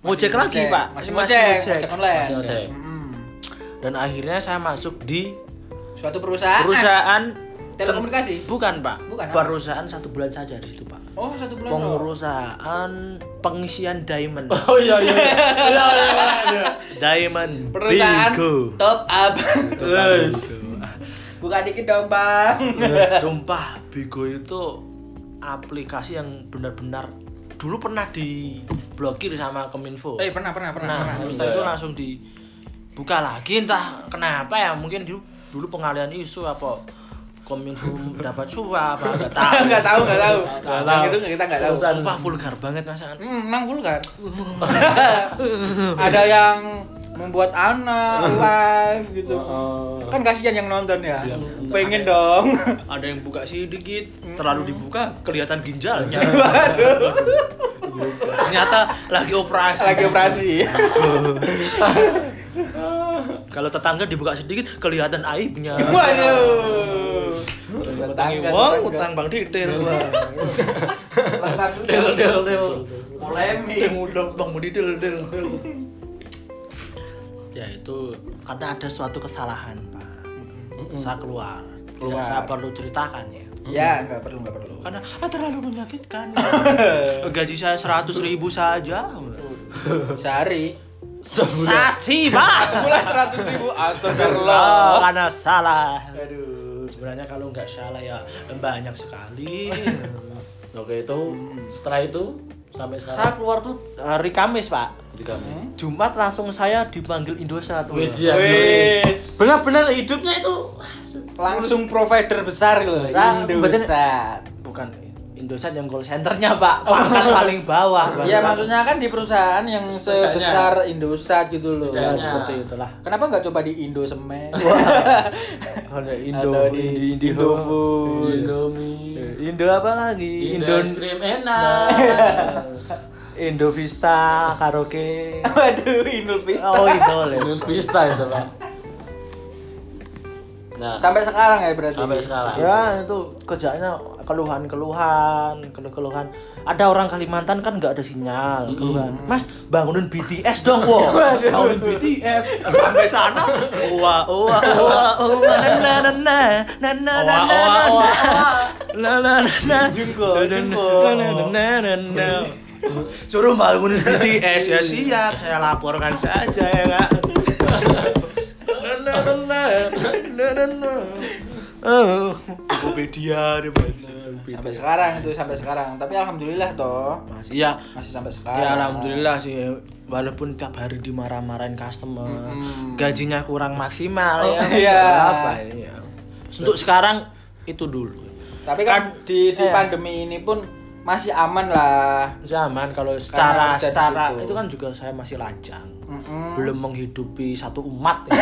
ngojek lagi pak Masih ngecek, ngecek ngojek. online. Masih ngecek. Mm-mm. dan akhirnya saya masuk di Suatu perusahaan. perusahaan Ah, Telekomunikasi? ten- bukan pak Bukan, apa? perusahaan satu bulan saja di situ pak Oh, satu bulan. doang. pengurusan pengisian diamond Oh iya iya. Iya iya, iya. diamond Perusahaan bingo top up. Wes. Buka dikit dong, Bang. sumpah bigo itu aplikasi yang benar-benar dulu pernah diblokir sama kominfo Eh, pernah pernah pernah. nah pernah. Iya. terus setelah itu langsung dibuka lagi entah kenapa ya mungkin dulu, dulu pengalian isu apa kominfo dapat suap apa nggak tahu Enggak tahu, enggak tahu. Yang itu kita enggak tahu. sumpah vulgar banget masa Hmm, nang vulgar. Ada yang membuat anak live gitu. Kan kasihan yang nonton ya. Iya, Pengen dong. ada yang buka sedikit Hmm. terlalu dibuka kelihatan ginjalnya ternyata lagi operasi Lagi operasi. kalau tetangga dibuka sedikit kelihatan aibnya Waduh. Utangi wong utang bang ditir Del del del. polemik udah bang mau didil dil dil. ya itu karena ada suatu kesalahan pak saya keluar tidak Keluar. saya perlu ceritakan ya Ya, enggak perlu, enggak perlu. karena ah, terlalu menyakitkan gaji saya seratus ribu saja Sehari sasi pak mulai 100 ribu Oh, astagfirullah. karena salah. Aduh. Sebenarnya kalau nggak salah ya banyak sekali. Oke itu Hmm. setelah itu sampai saya sekarang keluar tuh hari Kamis pak. di Hmm? kami. Jumat langsung saya dipanggil Indosat. Wih, dia. Wis. Iya, Benar-benar hidupnya itu langsung provider besar loh Nah, betul. Indosat bukan Indosat yang call centernya pak pangkat paling bawah ya Pak. maksudnya kan di perusahaan yang Setidaknya. sebesar Indosat gitu loh Ya, Setidaknya. seperti itulah kenapa nggak coba di Indo semen kalau Indo atau di di Indo Indofood Iya. Indomie. Indo apa lagi Indo Indo es krim enak. Indo Vista karaoke waduh Indo oh Indo ya Indomie Vista itu pak. Nah, sampai sekarang ya berarti sampai sekarang. ya itu kerjaannya keluhan-keluhan keluhan-keluhan ada orang Kalimantan kan nggak ada sinyal keluhan mas bangunin BTS dong wo bangunin BTS sampai sana wah wah wah wah na na na na na na Oa, na oa, na, oa. na la la la Jungkook, Jungkook. suruh bangunin BTS ya siap saya laporkan saja ya kak na na na na na na na oh Wikipedia dibaca sampai sekarang itu sampai sekarang tapi alhamdulillah toh masih ya masih sampai sekarang ya alhamdulillah sih walaupun tiap hari dimarah-marahin customer Mm-mm. gajinya kurang maksimal Oh, ya iya. apa ya untuk sekarang itu dulu tapi Kan- kan, di, di iya. pandemi ini pun masih aman lah zaman kalau secara kerja di secara situ. itu kan juga saya masih lajang Mm-mm. belum menghidupi satu umat ya.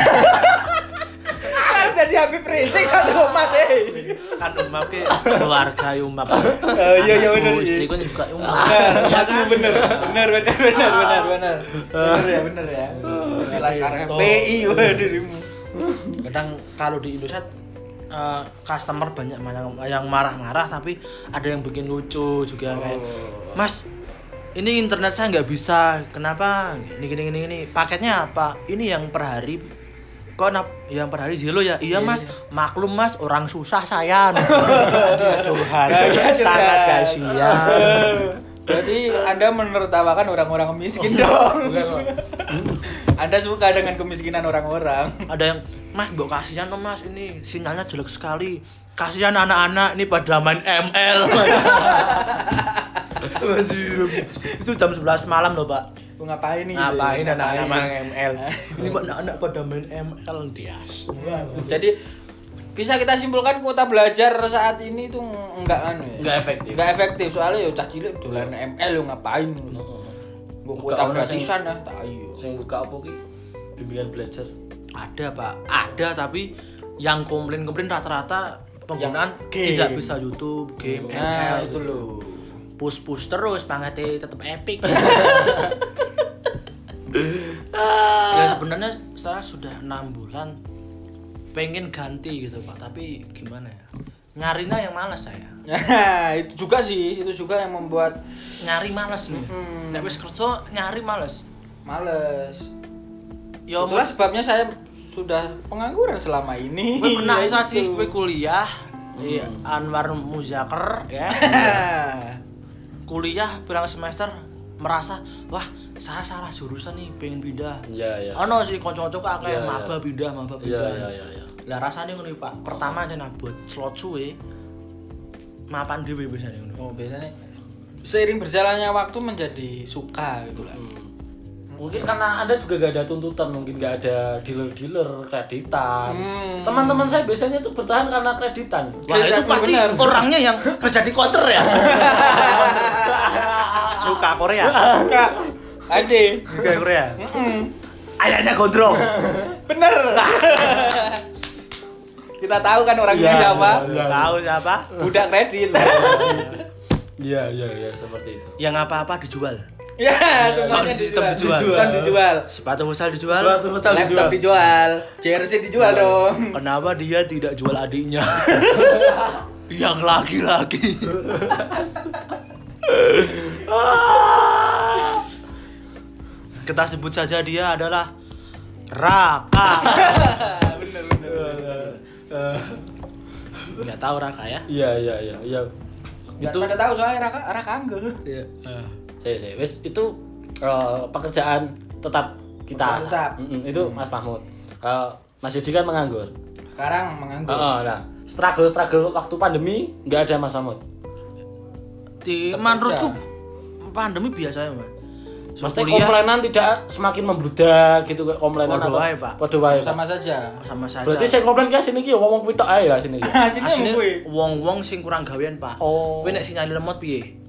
kan jadi Habib Rizik satu umat eh kan umat ke keluarga umat Oh, iya, iya, bener Anakku, sih. istriku juga umat benar kan? bener bener bener bener bener bener bener ya bener ya jelas Iya, sekarang PI waduh dirimu kadang kalau di Indosat eh, customer banyak yang yang marah-marah tapi ada yang bikin lucu juga kayak Mas ini internet saya nggak bisa kenapa ini gini gini gini paketnya apa ini yang per hari kok nap- yang per hari zero ya iya mas maklum mas orang susah saya dia curhat Dia curhat. iya, sangat kasihan Oh, berarti anda menertawakan orang-orang miskin iya. dong anda suka dengan kemiskinan orang-orang ada yang mas mbok kasihan dong mas ini sinyalnya jelek sekali kasihan anak-anak ini pada main ML Anjir. itu jam 11 malam loh pak Lu ngapain nih ngapain anak-anak main Ngapain? ML ini kok anak-anak pada main ML dia jadi bisa kita simpulkan kuota belajar saat ini tuh enggak anu ya Nggak efektif. Nggak efektif soalnya ya cah cilik dolan ML lu ya ngapain lu gua Nggak ono kuota sing- gratisan lah tak iya. ayo Sing buka apa ki? Bimbingan belajar. ada pak ada tapi yang komplain-komplain rata-rata penggunaan Yang game. tidak bisa YouTube game nah ML itu loh push-push terus pangatnya tetap epic ya sebenarnya saya sudah enam bulan pengen ganti gitu pak tapi gimana ya nyarinya yang males saya Nah, itu juga sih itu juga yang membuat nyari males nih Mm-mm. nek wis kerja nyari males males ya itulah sebabnya saya sudah pengangguran selama ini gue pernah Iya, Ya bisa sih itu. gue kuliah Mm. di Anwar Muzaker ya gitu. kuliah bilang semester merasa wah saya salah jurusan nih pengen pindah Iya, iya. Ono sih kanca-kanca kok akeh Iya, iya. maba pindah, maba Iya, pindah. iya, iya, iya. Lah rasane ngono iki, Pak. Pertama aja nah buat slot suwe mapan dhewe biasane ngono. oh, biasanya seiring berjalannya waktu menjadi suka gitu lah Mungkin karena Anda juga gak ada tuntutan, mungkin gak ada dealer-dealer kreditan. Hmm. Teman-teman saya biasanya tuh bertahan karena kreditan. Wah, itu Exactly, pasti bener. orangnya yang kerja di counter ya. Suka Korea. Kak, Ade, Suka Korea. Ayahnya gondrong. bener. Kita tahu kan orangnya Iya, siapa? iya, iya. Tahu siapa? Budak kredit. Iya, iya, iya, seperti itu. Yang apa-apa dijual. ya, Sound semuanya system dijual. dijual. Sound dijual. Sepatu futsal dijual. Suatu futsal Laptop dijual. dijual. Iya. jersey dijual dong. Kenapa dia tidak jual adiknya? yang laki-laki. Kita sebut saja dia adalah Raka. bener, bener. Eh, Nggak tahu Raka ya. Iya, iya, iya, iya. Itu Itu pada tahu soalnya Raka Raka angge. saya saya wes itu eh, pekerjaan tetap kita Pekerjaan tetap. Hmm. Mm-mm, itu Mas Mahmud Kalau Mas Yudi kan menganggur Sekarang menganggur. Heeh, nah struggle struggle waktu pandemi nggak ada Mas Mahmud Di Tetap menurutku kerja. pandemi biasa ya, Mas. Suruh Mesti kuliah. komplainan tidak semakin membludak gitu kayak komplainan Padha atau wae, Pak. Padha wae, Pak. sama saja sama saja Berarti saya komplain kayak sini ki ya, ngomong pitok ae lah sini ki. aslinya aslinya kuwi wong-wong sing kurang gawean pak Oh. kowe nek sinyal lemot piye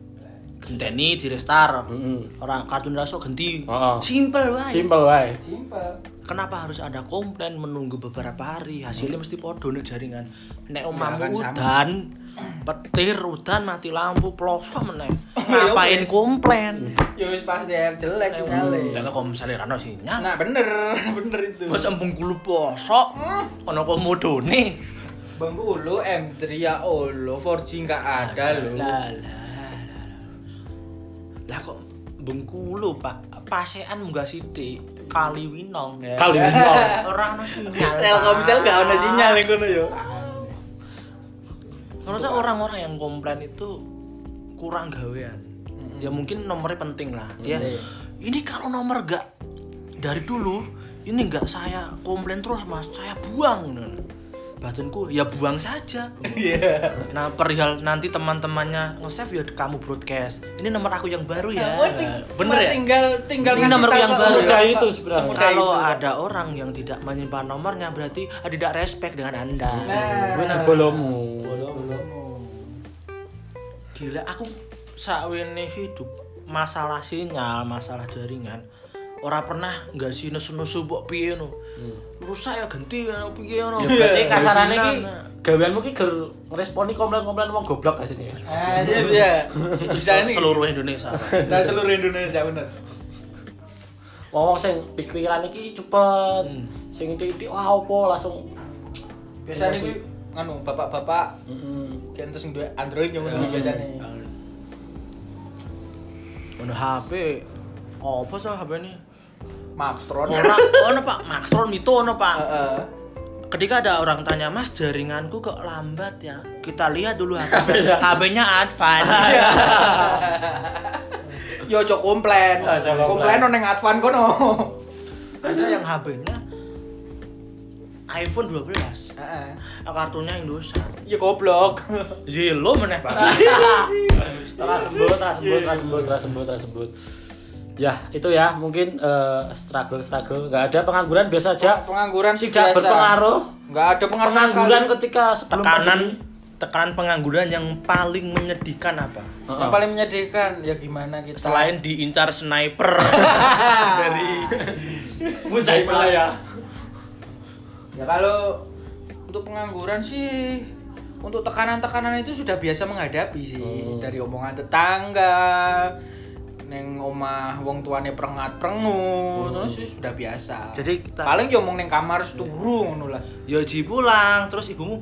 genteni di restar Heeh. orang kartun raso genti Hmm. Heeh. simple wae Simpel wae. simpel kenapa harus ada komplain menunggu beberapa hari hasilnya mesti podo nek jaringan nek kan omamu sama. udan petir udan mati lampu ploso meneh ya ngapain wes. komplain ya wis pasti air jelek sinyale Jangan komsel rano sinyal nah bener bener itu Mas embung kulu poso Hmm. Ono komodone bangku ulu M3 ya Allah 4G nggak ada loh Lah, lah, lah, lah. Lah kok bengkulu pak Pasean munggah sithik Kali winong Kali winong. Ora ono sinyal Pak. Telkomsel nggak ada sinyal yang kono yo Menurut saya orang-orang yang komplain itu kurang gawean. Ya mungkin nomornya penting lah. Dia ini kalau nomor gak dari dulu ini gak saya komplain terus mas, saya buang. Batinku ya buang saja. iya Nah perihal nanti teman-temannya nge-save ya kamu broadcast. Ini nomor aku yang baru ya. Oh, ting- Bener cuma ya. tinggal tinggal Ini nomor yang baru. ke orang. Semudah itu sebenarnya. Semudah Kalau itu. ada orang yang tidak menyimpan nomornya berarti ah, tidak respect dengan anda. Nah. Kuwi jebolomu. Gila, aku sakwene hidup masalah sinyal, masalah jaringan. Ora pernah nggak sih nesu-nesu mbok piye no. Rusak ya ganti ya piye no. Hmm. Ya berarti Iya. kasarane ki Sinyal, gaweanmu ki ger ngresponi komplain-komplain wong goblok kayak sini. Ah, siap ya. nah, Bisa ini. seluruh Indonesia. Dan seluruh Indonesia bener. Wong wong sing pikiran iki cepet. Sing titik wah opo langsung Biasanya gue nganu anu, bapak-bapak Mm-mm. kan terus duwe Android yang Ah. ngono biasanya. Ono HP apa sih HP ini? Mapstron. Ora, ono Pak, Maxtron itu ono Pak. Heeh. Ketika ada orang tanya, Mas jaringanku kok lambat ya? Kita lihat dulu HP-nya. HP-nya Advan. Yo cok komplain. Ah, Oh, cok komplain. Komplain nang Advan kono. Ada yang HP-nya iPhone 12. Heeh. Kartunya Indosat. Ya goblok. Zelo meneh, Pak. Terus sembut, terus sembut, terus sembut, terus sembut, terus sembut. Ya, itu ya mungkin eh, struggle-struggle. Enggak ada pengangguran biasa aja. Pengangguran sih Tidak biasa. berpengaruh. Enggak ada pengaruh sama Pengangguran sekali. ketika sebelum Tekanan pandemi. tekanan pengangguran yang paling menyedihkan apa? Heeh. Yang paling menyedihkan ya gimana kita Ah. Selain diincar sniper dari puncak Himalaya. Ya kalau untuk pengangguran sih untuk tekanan-tekanan itu sudah biasa menghadapi sih dari omongan tetangga neng omah wong tuane perengat perengut terus sih sudah biasa Jadi kita- paling ya omong neng kamar seturu ngono lah Yoji pulang, terus ibumu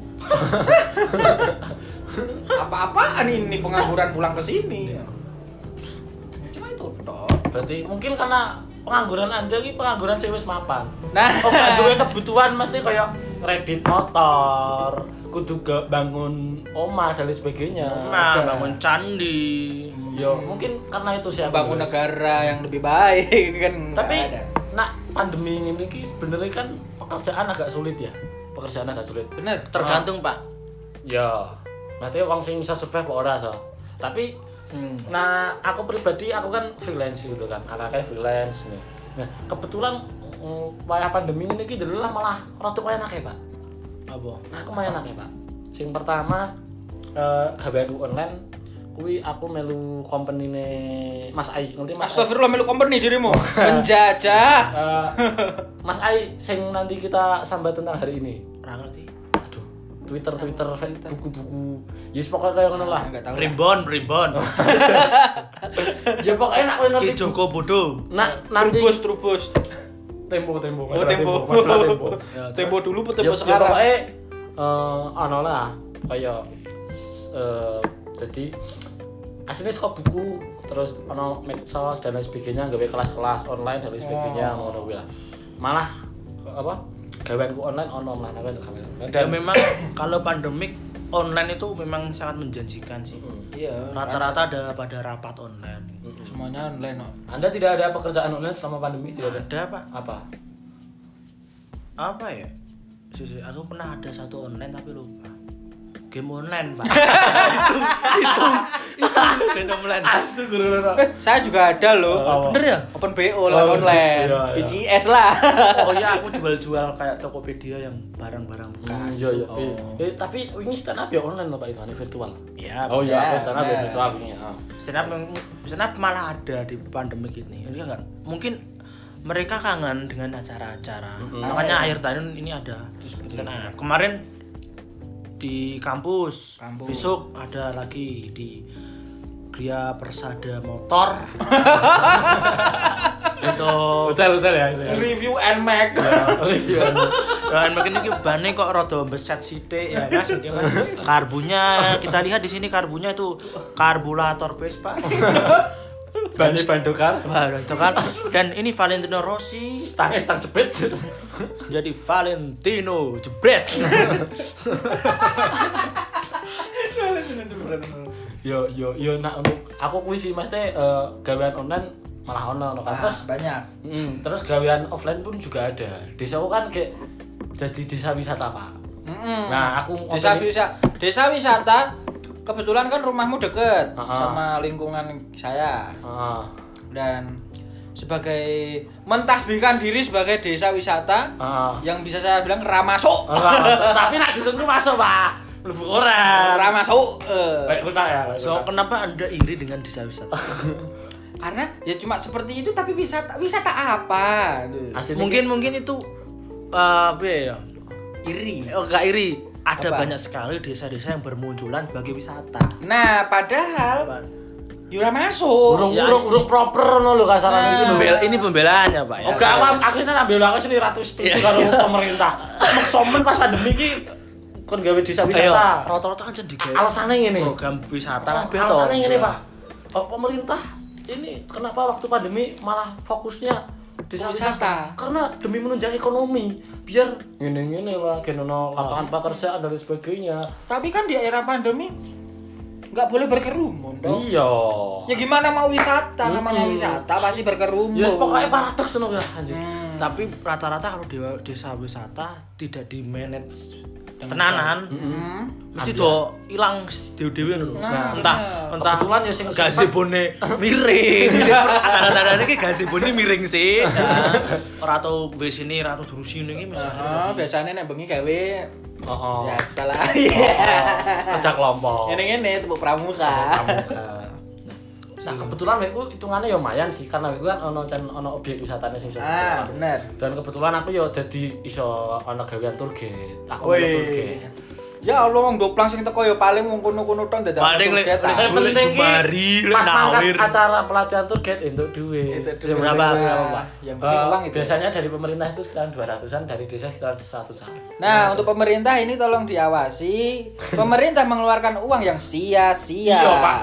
apa-apaan ini pengangguran pulang ke sini Ya, cuma itu toh Berarti mungkin karena pengangguran Anda iki pengangguran sing wis mapan. nah Oh, gak duwe kebutuhan mesti kaya kredit motor, kudu ga- bangun omah dan lain sebagainya. nah bangun candi. Yo, mungkin karena itu sih aku bangun nulis. negara yang lebih baik kan nggak Tapi ada. nak pandemi ini ki sebenarnya kan pekerjaan agak sulit ya. Pekerjaan agak sulit. bener Tergantung, Pak. Ya, berarti wong sing bisa survive apa ora so. Tapi nah aku pribadi aku kan freelance gitu kan. Akak freelance nih. Nah, kebetulan mm, wayah pandemi ini ki dulu lah malah rada wayah akeh, Pak. Apa? Nah, aku main akeh, Pak. Sing pertama eh gaweanku online kuwi aku melu kompenine Mas Ai. Ngerti Mas Ai? Astagfirullah melu company dirimu menjajah Eh, Mas Ai sing nanti kita sambat tentang hari ini. Ora ngerti. Aduh, Twitter Twitter buku-buku. Ya yes, pokoknya kayak ngono lah. nggak tahu lah. Primbon, primbon. Ya pokoknya nak kowe Ki ngerti. Joko Bodo. Nak nanti Trubus, trubus. tempo tempo Oh, masalah tempo, tempo. Ya, masalah tempo. Tempo dulu, ya, apa tempo ya sekarang. pokoknya eh ana lah kaya eh jadi aslinya saka buku terus ana medsos dan lain sebagainya gawe kelas-kelas online dan lain sebagainya ngono kuwi lah. Malah apa? Gaweanku online ono mana untuk gawean online. Ya Dan memang kalau pandemik online itu memang sangat menjanjikan sih. Iya. Rata-rata ada pada rapat online. Semuanya online. no. Anda tidak ada pekerjaan online selama pandemi tidak ada. Ada apa? Apa? Apa ya? Sisi, aku pernah ada satu online tapi lupa. Game online, Pak. itu, Genomland. Asu guru Rono. Eh, saya juga ada loh. Oh. Bener ya? Open BO lah Oh, online. iya, iya. BGS lah. Oh iya, aku jual-jual kayak Tokopedia yang barang-barang Hmm, bekas. iya, iya. Oh. Eh, eh, tapi ini stand up ya online loh Pak Ivan, ini virtual. Iya. Oh iya, aku benar. stand up ya virtual ini. ah. Stand up yang- stand up malah ada di pandemi gini. Iya enggak? Mungkin mereka kangen dengan acara-acara. Makanya akhir tahun ini ada stand up. Kemarin di kampus, Kampus. besok ada lagi di Gria Persada Motor. Untuk Hotel hotel ya itu ya. Review and Mac. Oh iya. Dan makin iki bane kok rada beset sithik ya Mas. Ya, Mas. Karbunya kita lihat di sini karbunya itu karburator Vespa. Bani bandokan. Wah, itu kan. Dan ini Valentino Rossi Stang eh, stang jepit. jadi Valentino jebret. Iya, Yo yo yo nak untuk aku kuis sih Mas teh eh, gawean online malah ono no kan. Terus banyak. Mm, terus gawean offline pun juga ada. Desa aku kan kayak jadi desa wisata Pak. Mm-mm. Nah, aku Desa ngomongin- wisata, desa wisata kebetulan kan rumahmu deket Aha. sama lingkungan saya Ah, dan sebagai mentasbihkan diri sebagai desa wisata ah. yang bisa saya bilang ramasuk. Ora masuk. Tapi nak dusunku masuk Pak. Lebih orang. Ramasuk. eh. Baik kota ya. baik So, kota. kenapa Anda iri dengan desa wisata? Karena ya cuma seperti itu tapi wisata wisata apa? Gitu. Aduh. Asli mungkin mungkin itu eh, apa ya? Iri. Oh, enggak iri. Ada Apa? banyak sekali desa-desa yang bermunculan sebagai wisata. Nah, padahal Yura masuk. urung urung urung proper no lo kasaran Nah. itu lho. Pembela- ini pembelaannya, Pak ya. Oh, gak apa, akhirnya ngambil aku sini ratus setuju karo pemerintah. Mek somen pas pandemi ki kon gawe desa Ayo, wisata. rata-rata kan jadi gaya. Alasannya ngene. program wisata Oh, lah beto. Alasannya ngene, Pak. Oh, pemerintah ini kenapa waktu pandemi malah fokusnya desa Wisata. wisata? Karena demi menunjang ekonomi, biar ngene-ngene lah, genono lapangan pekerjaan dan lain sebagainya. Tapi kan di era pandemi nggak boleh berkerumun dong. Iya. Ya gimana mau wisata? Namanya Mm-mm. wisata pasti berkerumun. Ya yes, pokoknya paradoks ngono ya anjir. Hmm. Tapi rata-rata kalau di desa wisata tidak di manage tenanan, Hmm. mesti do hilang dewe-dewe ngono. Nah, entah bener. entah Kebetulan ya sing- gazebone miring. Tanda-tandane ki gazebone miring sih. Nah, Ora tau wis ini, ora tau durus ini ki Ah, misalnya. biasanya nek bengi gawe Heeh. ya salah. Iya. Kerja kelompok. Ini ngene tepuk pramuka. Nah, kebetulan aku hitungannya ya lumayan sih karena aku kan ono can ono objek wisatanya sing iso dikelola. Ah, bener. Dan kebetulan aku ya jadi iso ono gawean tour guide. Aku Wih. melu tour guide. Ya Allah wong doplang sing teko ya paling wong kono-kono tok ah. dadak. Paling lek- Saya Julik penting ki, jemari, lek pas mangkat nawir. acara pelatihan tour guide untuk duit. Itu duit. Yang Berapa, penting, berapa, Pak? Yang penting Eh, uang itu. ya. Biasanya dari pemerintah itu sekitar 200-an, dari desa sekitar 100-an. Nah, untuk pemerintah ini tolong diawasi. Pemerintah mengeluarkan uang yang sia-sia. Iya, Pak.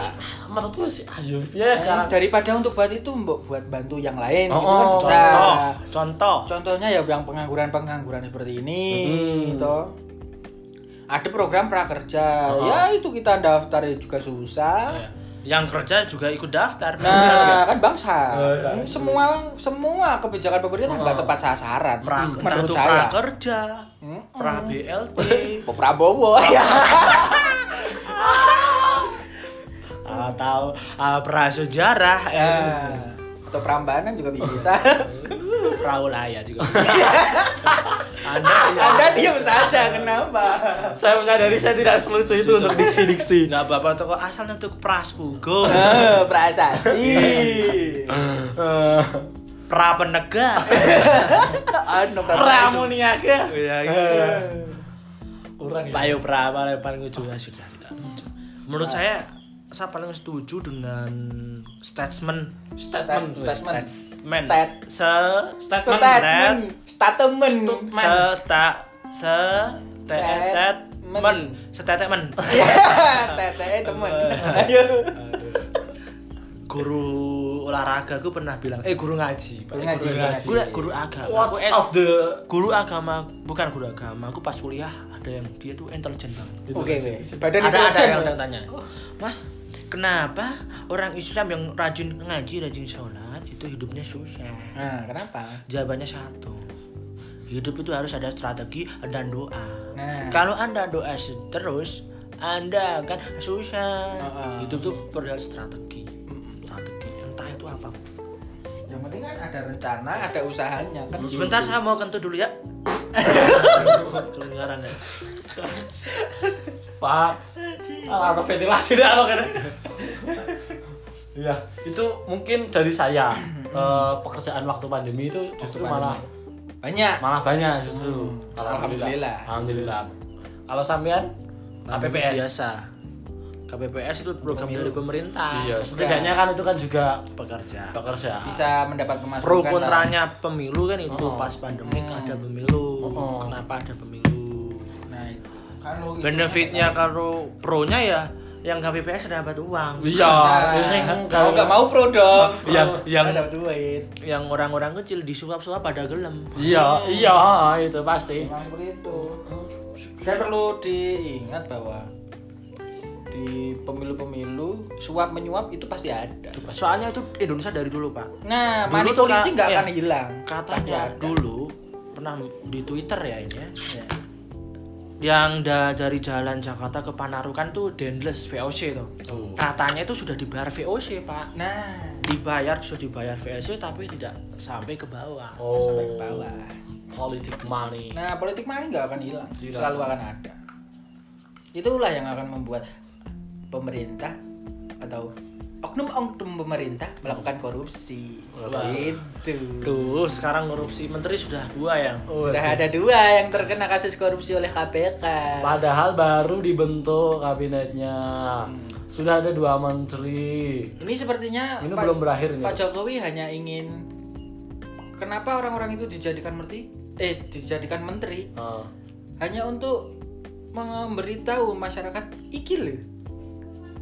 Menurutku sih ayo ya Nah, sekarang. daripada untuk buat itu mbok buat bantu yang lain Oh, gitu kan oh, bisa. Contoh, contoh. Contohnya ya yang pengangguran-pengangguran seperti ini Hmm. gitu. Ada program prakerja. Oh. Ya itu kita daftar ya juga Iya. susah. Yang kerja juga ikut daftar. Nah, kan bangsa. Oh, iya. Oh. Semua semua kebijakan pemerintah nggak tepat sasaran pra, entah menurut itu saya. prakerja, Mm-mm. pra BLT. Pak Prabowo ya. atau uh, prasejarah eh, Ah, Atau Prambanan juga bisa. praulaya juga Anda iya. Anda diam saja, kenapa? Saya menyadari saya tidak selucu itu untuk diksi-diksi. nggak apa-apa toko asalnya tuh praspu go Eh, prasasti. Iya. Eh, pra penegak Anu Pramunia ke? ya gitu Orang ya. payo pra paling paling ujung ya sudah tidak lucu. menurut saya saya paling setuju dengan statement Statement. Statement. statement Stat. se Statement. Statement, statement. se ta se te Tet- men setetemen Ya, teteh temen. Ayo. guru olahraga gue pernah bilang eh guru ngaji Pak. Guru Eh, ngaji, guru, guru ngaji. Gua- guru agama What's Aku S- of the guru agama bukan guru agama aku pas kuliah ada yang dia tuh intelijen banget Gitu. Oke, oke. badan ada ada intelijen. yang yang tanya mas kenapa orang Islam yang rajin ngaji rajin sholat itu hidupnya susah Nah, kenapa? jawabannya satu hidup itu harus ada strategi dan doa Nah. kalau anda doa terus Anda akan susah. Heeh. Hidup tuh perlu strategi. Strategi entah itu apa. Yang penting kan ada rencana, ada usahanya kan. Sebentar saya mau kentut dulu ya. Kedengaran ya. Pak. Alah, ada ventilasi dah lo kan. Iya, itu mungkin dari saya. Eh, pekerjaan waktu pandemi itu justru Hmm. Waktu malah Banyak. malah banyak justru. Hmm. Alhamdulillah. Alhamdulillah. Alhamdulillah. Kalau sampean Nah, KPPS. Iya, biasa. KPPS itu program Pemilu. dari pemerintah. Iya, setidaknya kan itu kan juga Pekerja. pekerjaan. Bisa mendapat pemasukan. Pro lah. kontranya pemilu kan itu Oh. pas pandemi ada pemilu. Oh. Kenapa ada pemilu? Nah, itu. Kan lo gitu. Benefitnya kalau pro-nya ya yang KPPS dapat uang. Iya, Nah, itu sih kan mau kalau- nggak mau pro dong. Yang yang Ada duit. yang orang-orang kecil disuap-suap pada gelem. Iya, iya, itu pasti. Memang seperti itu. Saya perlu diingat bahwa di pemilu-pemilu suap menyuap itu pasti ada. Soalnya itu Indonesia dari dulu, Pak. Nah, Dulu money tuh politik Kak, nggak ya. akan hilang. Pasti Katanya ada. dulu pernah di Twitter ya ini ya. Ya. Yang da- dari jalan Jakarta ke Panarukan tuh Dendles VOC tuh. Oh. Katanya itu sudah dibayar VOC, Pak. Nah, Dibayar sudah dibayar VOC tapi tidak sampai ke bawah. Oh, sampai ke bawah. politik money. Nah, politik money nggak akan hilang. Tidak Selalu akan ada. Itulah yang akan membuat pemerintah atau oknum-oknum pemerintah melakukan korupsi. Gitu. Wah. Itu. Duh, sekarang korupsi menteri sudah dua ya. Oh, Sudah ada dua yang terkena kasus korupsi oleh KPK. Padahal baru dibentuk kabinetnya. Sudah ada dua menteri. Ini sepertinya Ini belum berakhir nih. Pak Jokowi hanya ingin kenapa orang-orang itu dijadikan menteri? Eh, dijadikan menteri Ah. hanya untuk memberitahu masyarakat iki lho.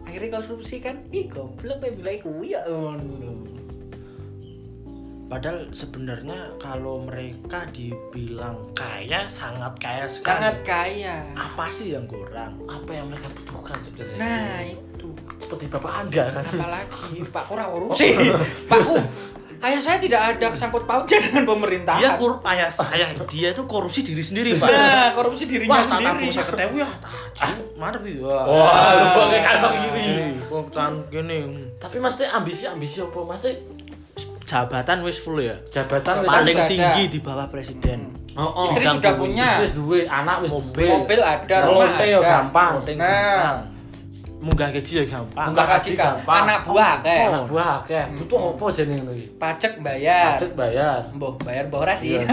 Akhirnya korupsi kan, ih goblok ya bilang iku ya ngono. Padahal sebenarnya kalau mereka dibilang kaya sangat kaya sekali. Sangat kaya. apa sih yang kurang? Apa yang mereka butuhkan sebenarnya? Nah, itu. seperti bapak anda kan? Apalagi Pak kurang korupsi. Pak U, ayah saya tidak ada sangkut pautnya dengan pemerintahan. Dia korup ayah saya dia itu korupsi diri sendiri pak. Nah, korupsi dirinya Wah tata sendiri. saya ketemu ya, tajam, mantep ya. Wah, lu pakai kantong gini. Wah, tangan gini. Tapi mas Teh ambisi ambisi apa mas Teh? Jabatan wis full ya. Jabatan wis- Paling sudah ada. tinggi di bawah presiden. Oh, oh. Istri Gang sudah Bumi. punya. Istri duwe, anak wis duwe. Mobil ada, rumah Lonte yo ya, ada. gampang. Voting Nah. gampang. Munggah gaji ya gampang. Munggah Mbak gaji Haji kan, gampang. anak buah kayak. Anak buah akeh. Butuh apa jenenge ngono iki? Pajak bayar. Pajak bayar. Mbah bayar mbah ora sih. Iya.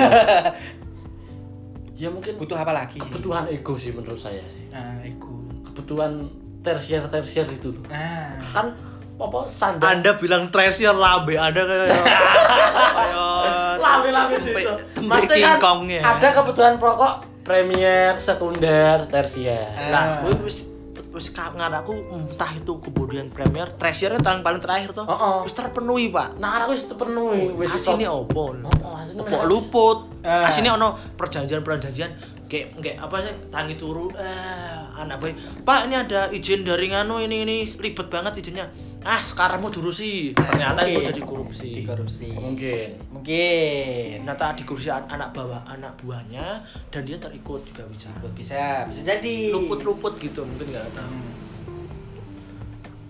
Ya mungkin Butuh apa lagi? kebutuhan ego sih menurut saya sih. Nah, ego. Kebutuhan tersier-tersier itu loh. Nah, Kan apa sandal Anda bilang treasure lambe Anda kayak kayak- lami-lami Tempe- desa. tempe Pasti kan kingkongnya. ada kebutuhan pokok premier, sekunder, tersier. Nah, gue wis wis ka- ngadaku entah itu kemudian premier, treasure paling paling terakhir tuh. Oh, oh. Wis terpenuhi, Pak. Nah, aku wis penuhi wis iso. Asine opo? Oh, asine Opo menarik. luput. Ah. Asine ono perjanjian-perjanjian kayak kayak apa sih tangi turu ah anak boy pak ini ada izin dari nganu ini ini ribet banget izinnya ah sekarang mau dulu sih ternyata Iya. itu Mungkin. jadi korupsi Dikorupsi. Mungkin. Nah. Mungkin. ternyata dikorupsi an- anak bawah anak buahnya dan dia terikut juga bisa Bisa, bisa Iya. jadi. luput-luput gitu mungkin nggak tahu Hmm.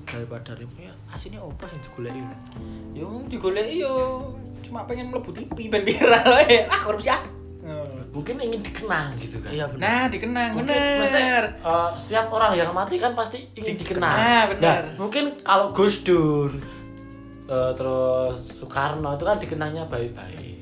daripada ributnya asinnya opo yang digulai Yo digoleki yo cuma pengen mlebu TV ben viral wae. Ah, korupsi ah. Mungkin ingin dikenang gitu kan. iya benar Nah, dikenang Mungkin Oh. mesti, bener. eh, setiap orang yang mati kan pasti ingin dikenang. Nah, benar. Nah, mungkin kalau Gus Dur eh, terus Soekarno itu kan dikenangnya baik-baik.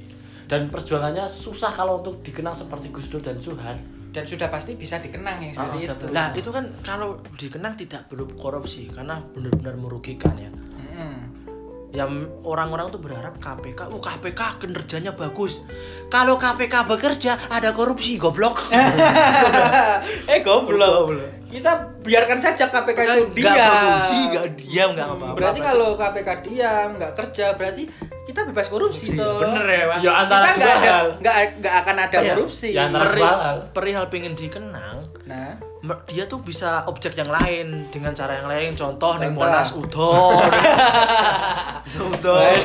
Dan perjuangannya susah kalau untuk dikenang seperti Gus Dur dan Suhar. Dan sudah pasti bisa dikenang yang seperti Ah, itu. satu. lah itu kan kalau dikenang tidak belum korupsi karena benar-benar merugikan ya Heeh. yang orang-orang tuh berharap KPK, oh KPK kinerjanya bagus. Kalau KPK bekerja ada korupsi goblok. eh goblok. Goblok. Kita biarkan saja KPK itu Nggak diam. korupsi, nggak diam, nggak Hmm, apa-apa. Berarti kalau KPK diam, nggak kerja, berarti kita bebas korupsi Korupsi, toh. bener ya, Pak? Ya antara dua kita nggak ada, hal. nggak nggak akan ada Iya, korupsi. ya antara- Perihal, Verbal. perihal pengen dikenang, Nah, me- dia tuh bisa objek yang lain dengan cara yang lain. Contoh nih Contoh. Monas udon. udon.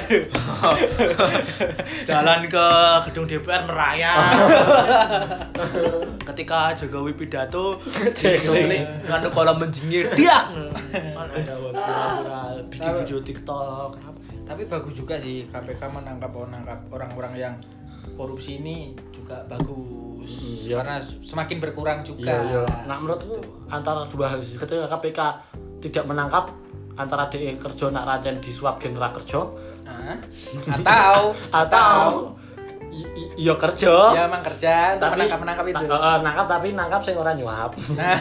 Jalan ke gedung DPR merayap. Ketika Jokowi pidato diselik nganu berkolam menjengir dia mana Kan ada web viral bikin video TikTok apa Tapi bagus juga sih KPK menangkap menangkap orang-orang yang korupsi ini juga bagus. Iya. Karena semakin berkurang juga. Iya, iya. Nah, menurutku antara dua hal sih. Ketika KPK tidak menangkap antara DE kerja nak racen disuap gen ra kerja Hah? Nah, Atau atau i- i- iya kerja ya emang kerja untuk tapi menangkap menangkap itu. ta- eh, eh, nangkap tapi nangkap sing ora nyuap. Nah,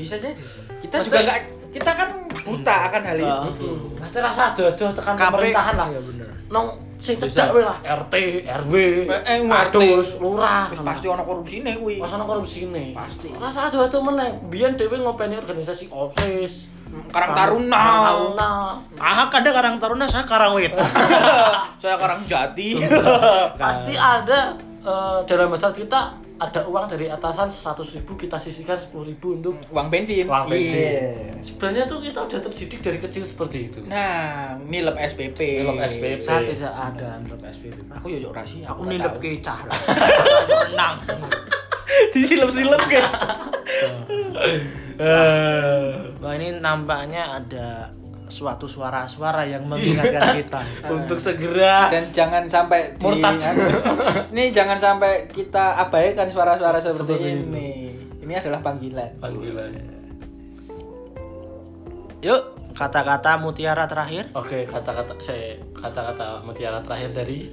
bisa jadi sih. Kita Pasti- juga nggak kita kan buta akan hal itu. Pasti rasa adoh tekan KPK. pemerintahan lah. Iya, bener. Nong sing Bisa. cedak wae lah RT, RW, Eh, eh, RT. padus, lurah. Terus pasti orang korupsi nih kuwi. Masa korupsi nih? Pasti. Rasa aduh-aduh meneh. Biyen dhewe ngopeni organisasi OSIS. Karang Taruna. Karang Taruna. ah kadang karang taruna saya karang wetan Saya karang jati. Pasti ada eh, dalam besar kita ada uang dari atasan 100.000 ribu kita sisihkan 10.000 ribu untuk Uang bensin. uang bensin. Iya. Sebenarnya tuh kita udah terdidik dari kecil seperti itu. Nah, Nah, nilep SPP. Nilep SPP. saya tidak ada nilep SPP Aku yo yo rahasia. aku nggak nilep tahu. kecah lah renang disilep-silep kan. Wah ini nampaknya ada suatu suara-suara yang mengingatkan kita Untuk segera Dan jangan sampai di Murtad. Ini jangan sampai kita abaikan suara-suara seperti, Seperti itu. ini. Ini adalah panggilan. panggilan. Yuk, kata-kata mutiara terakhir. Oke, kata-kata saya kata-kata mutiara terakhir dari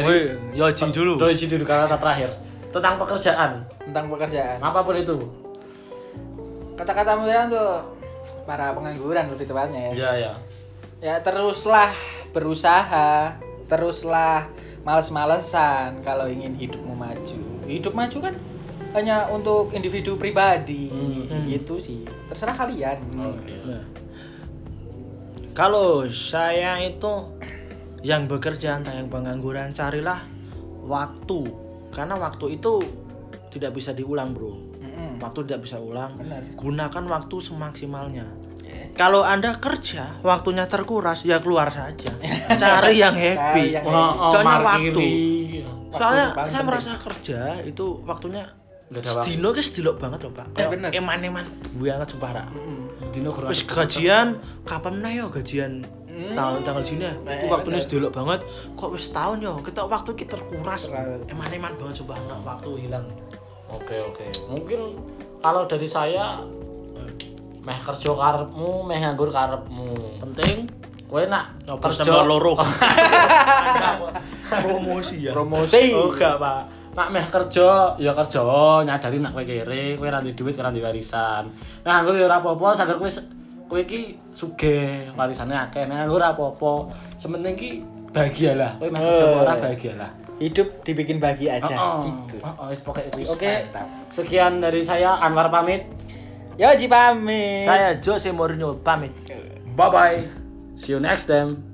Woi, Yoji dulu. Dari dulu kata terakhir tentang pekerjaan Tentang pekerjaan. apapun itu. Kata-kata mutiara untuk para pengangguran lebih tepatnya ya. Iya ya. Ya teruslah berusaha, teruslah males-malesan kalau ingin hidupmu maju. Hidup maju kan hanya untuk individu pribadi Hmm. gitu sih. Terserah kalian. Oke. Nah. Kalau saya itu yang bekerja entah yang pengangguran carilah waktu. Karena waktu itu tidak bisa diulang, Bro. Mm-mm. Waktu tidak bisa ulang. Benar. Gunakan waktu semaksimalnya. Ya. Kalau Anda kerja, waktunya terkuras, ya keluar saja. Cari yang Cari happy. yang Oh, oh, Soalnya markiri. waktu. Waktu Soalnya paling saya penting. merasa kerja itu waktunya Nggak ada waktu. Sedino ki sedilok banget loh, Pak. Ya, Kayak bener. eman-eman banget sumpah ra. Dino kurang. Wis gajian kapan meneh yo gajian tahun tanggal sini ya. Hmm. Nah, Iku iya, waktune bener. sedelok banget. Kok wis tahun yo, kita waktu kita terkuras. Terlalu. Eman-eman banget sumpah nak waktu hilang. Oke oke. Mungkin kalau dari saya meh kerja karepmu, meh nganggur karepmu. Penting kowe nak kerja loro. Promosi ya. Promosi. Oh enggak, Pak. Nak meh kerja, ya kerja nyadari nak kowe kere, kowe ra duwe duit, ora duwe warisan. Nah, nganggur ya ora apa-apa, sagar kowe se- kowe iki sugih, warisane akeh. Nah, nganggur ora apa-apa. Sementing ki bahagialah. Kowe meh kerja Eh. ora bahagialah. Hidup dibikin bahagia aja Oh, gitu. oh, oh, wis pokoknya itu. Oke. Mantap. Sekian dari saya Anwar pamit. Yo Ji pamit. Saya Jose Mourinho pamit. bye bye. See you next time.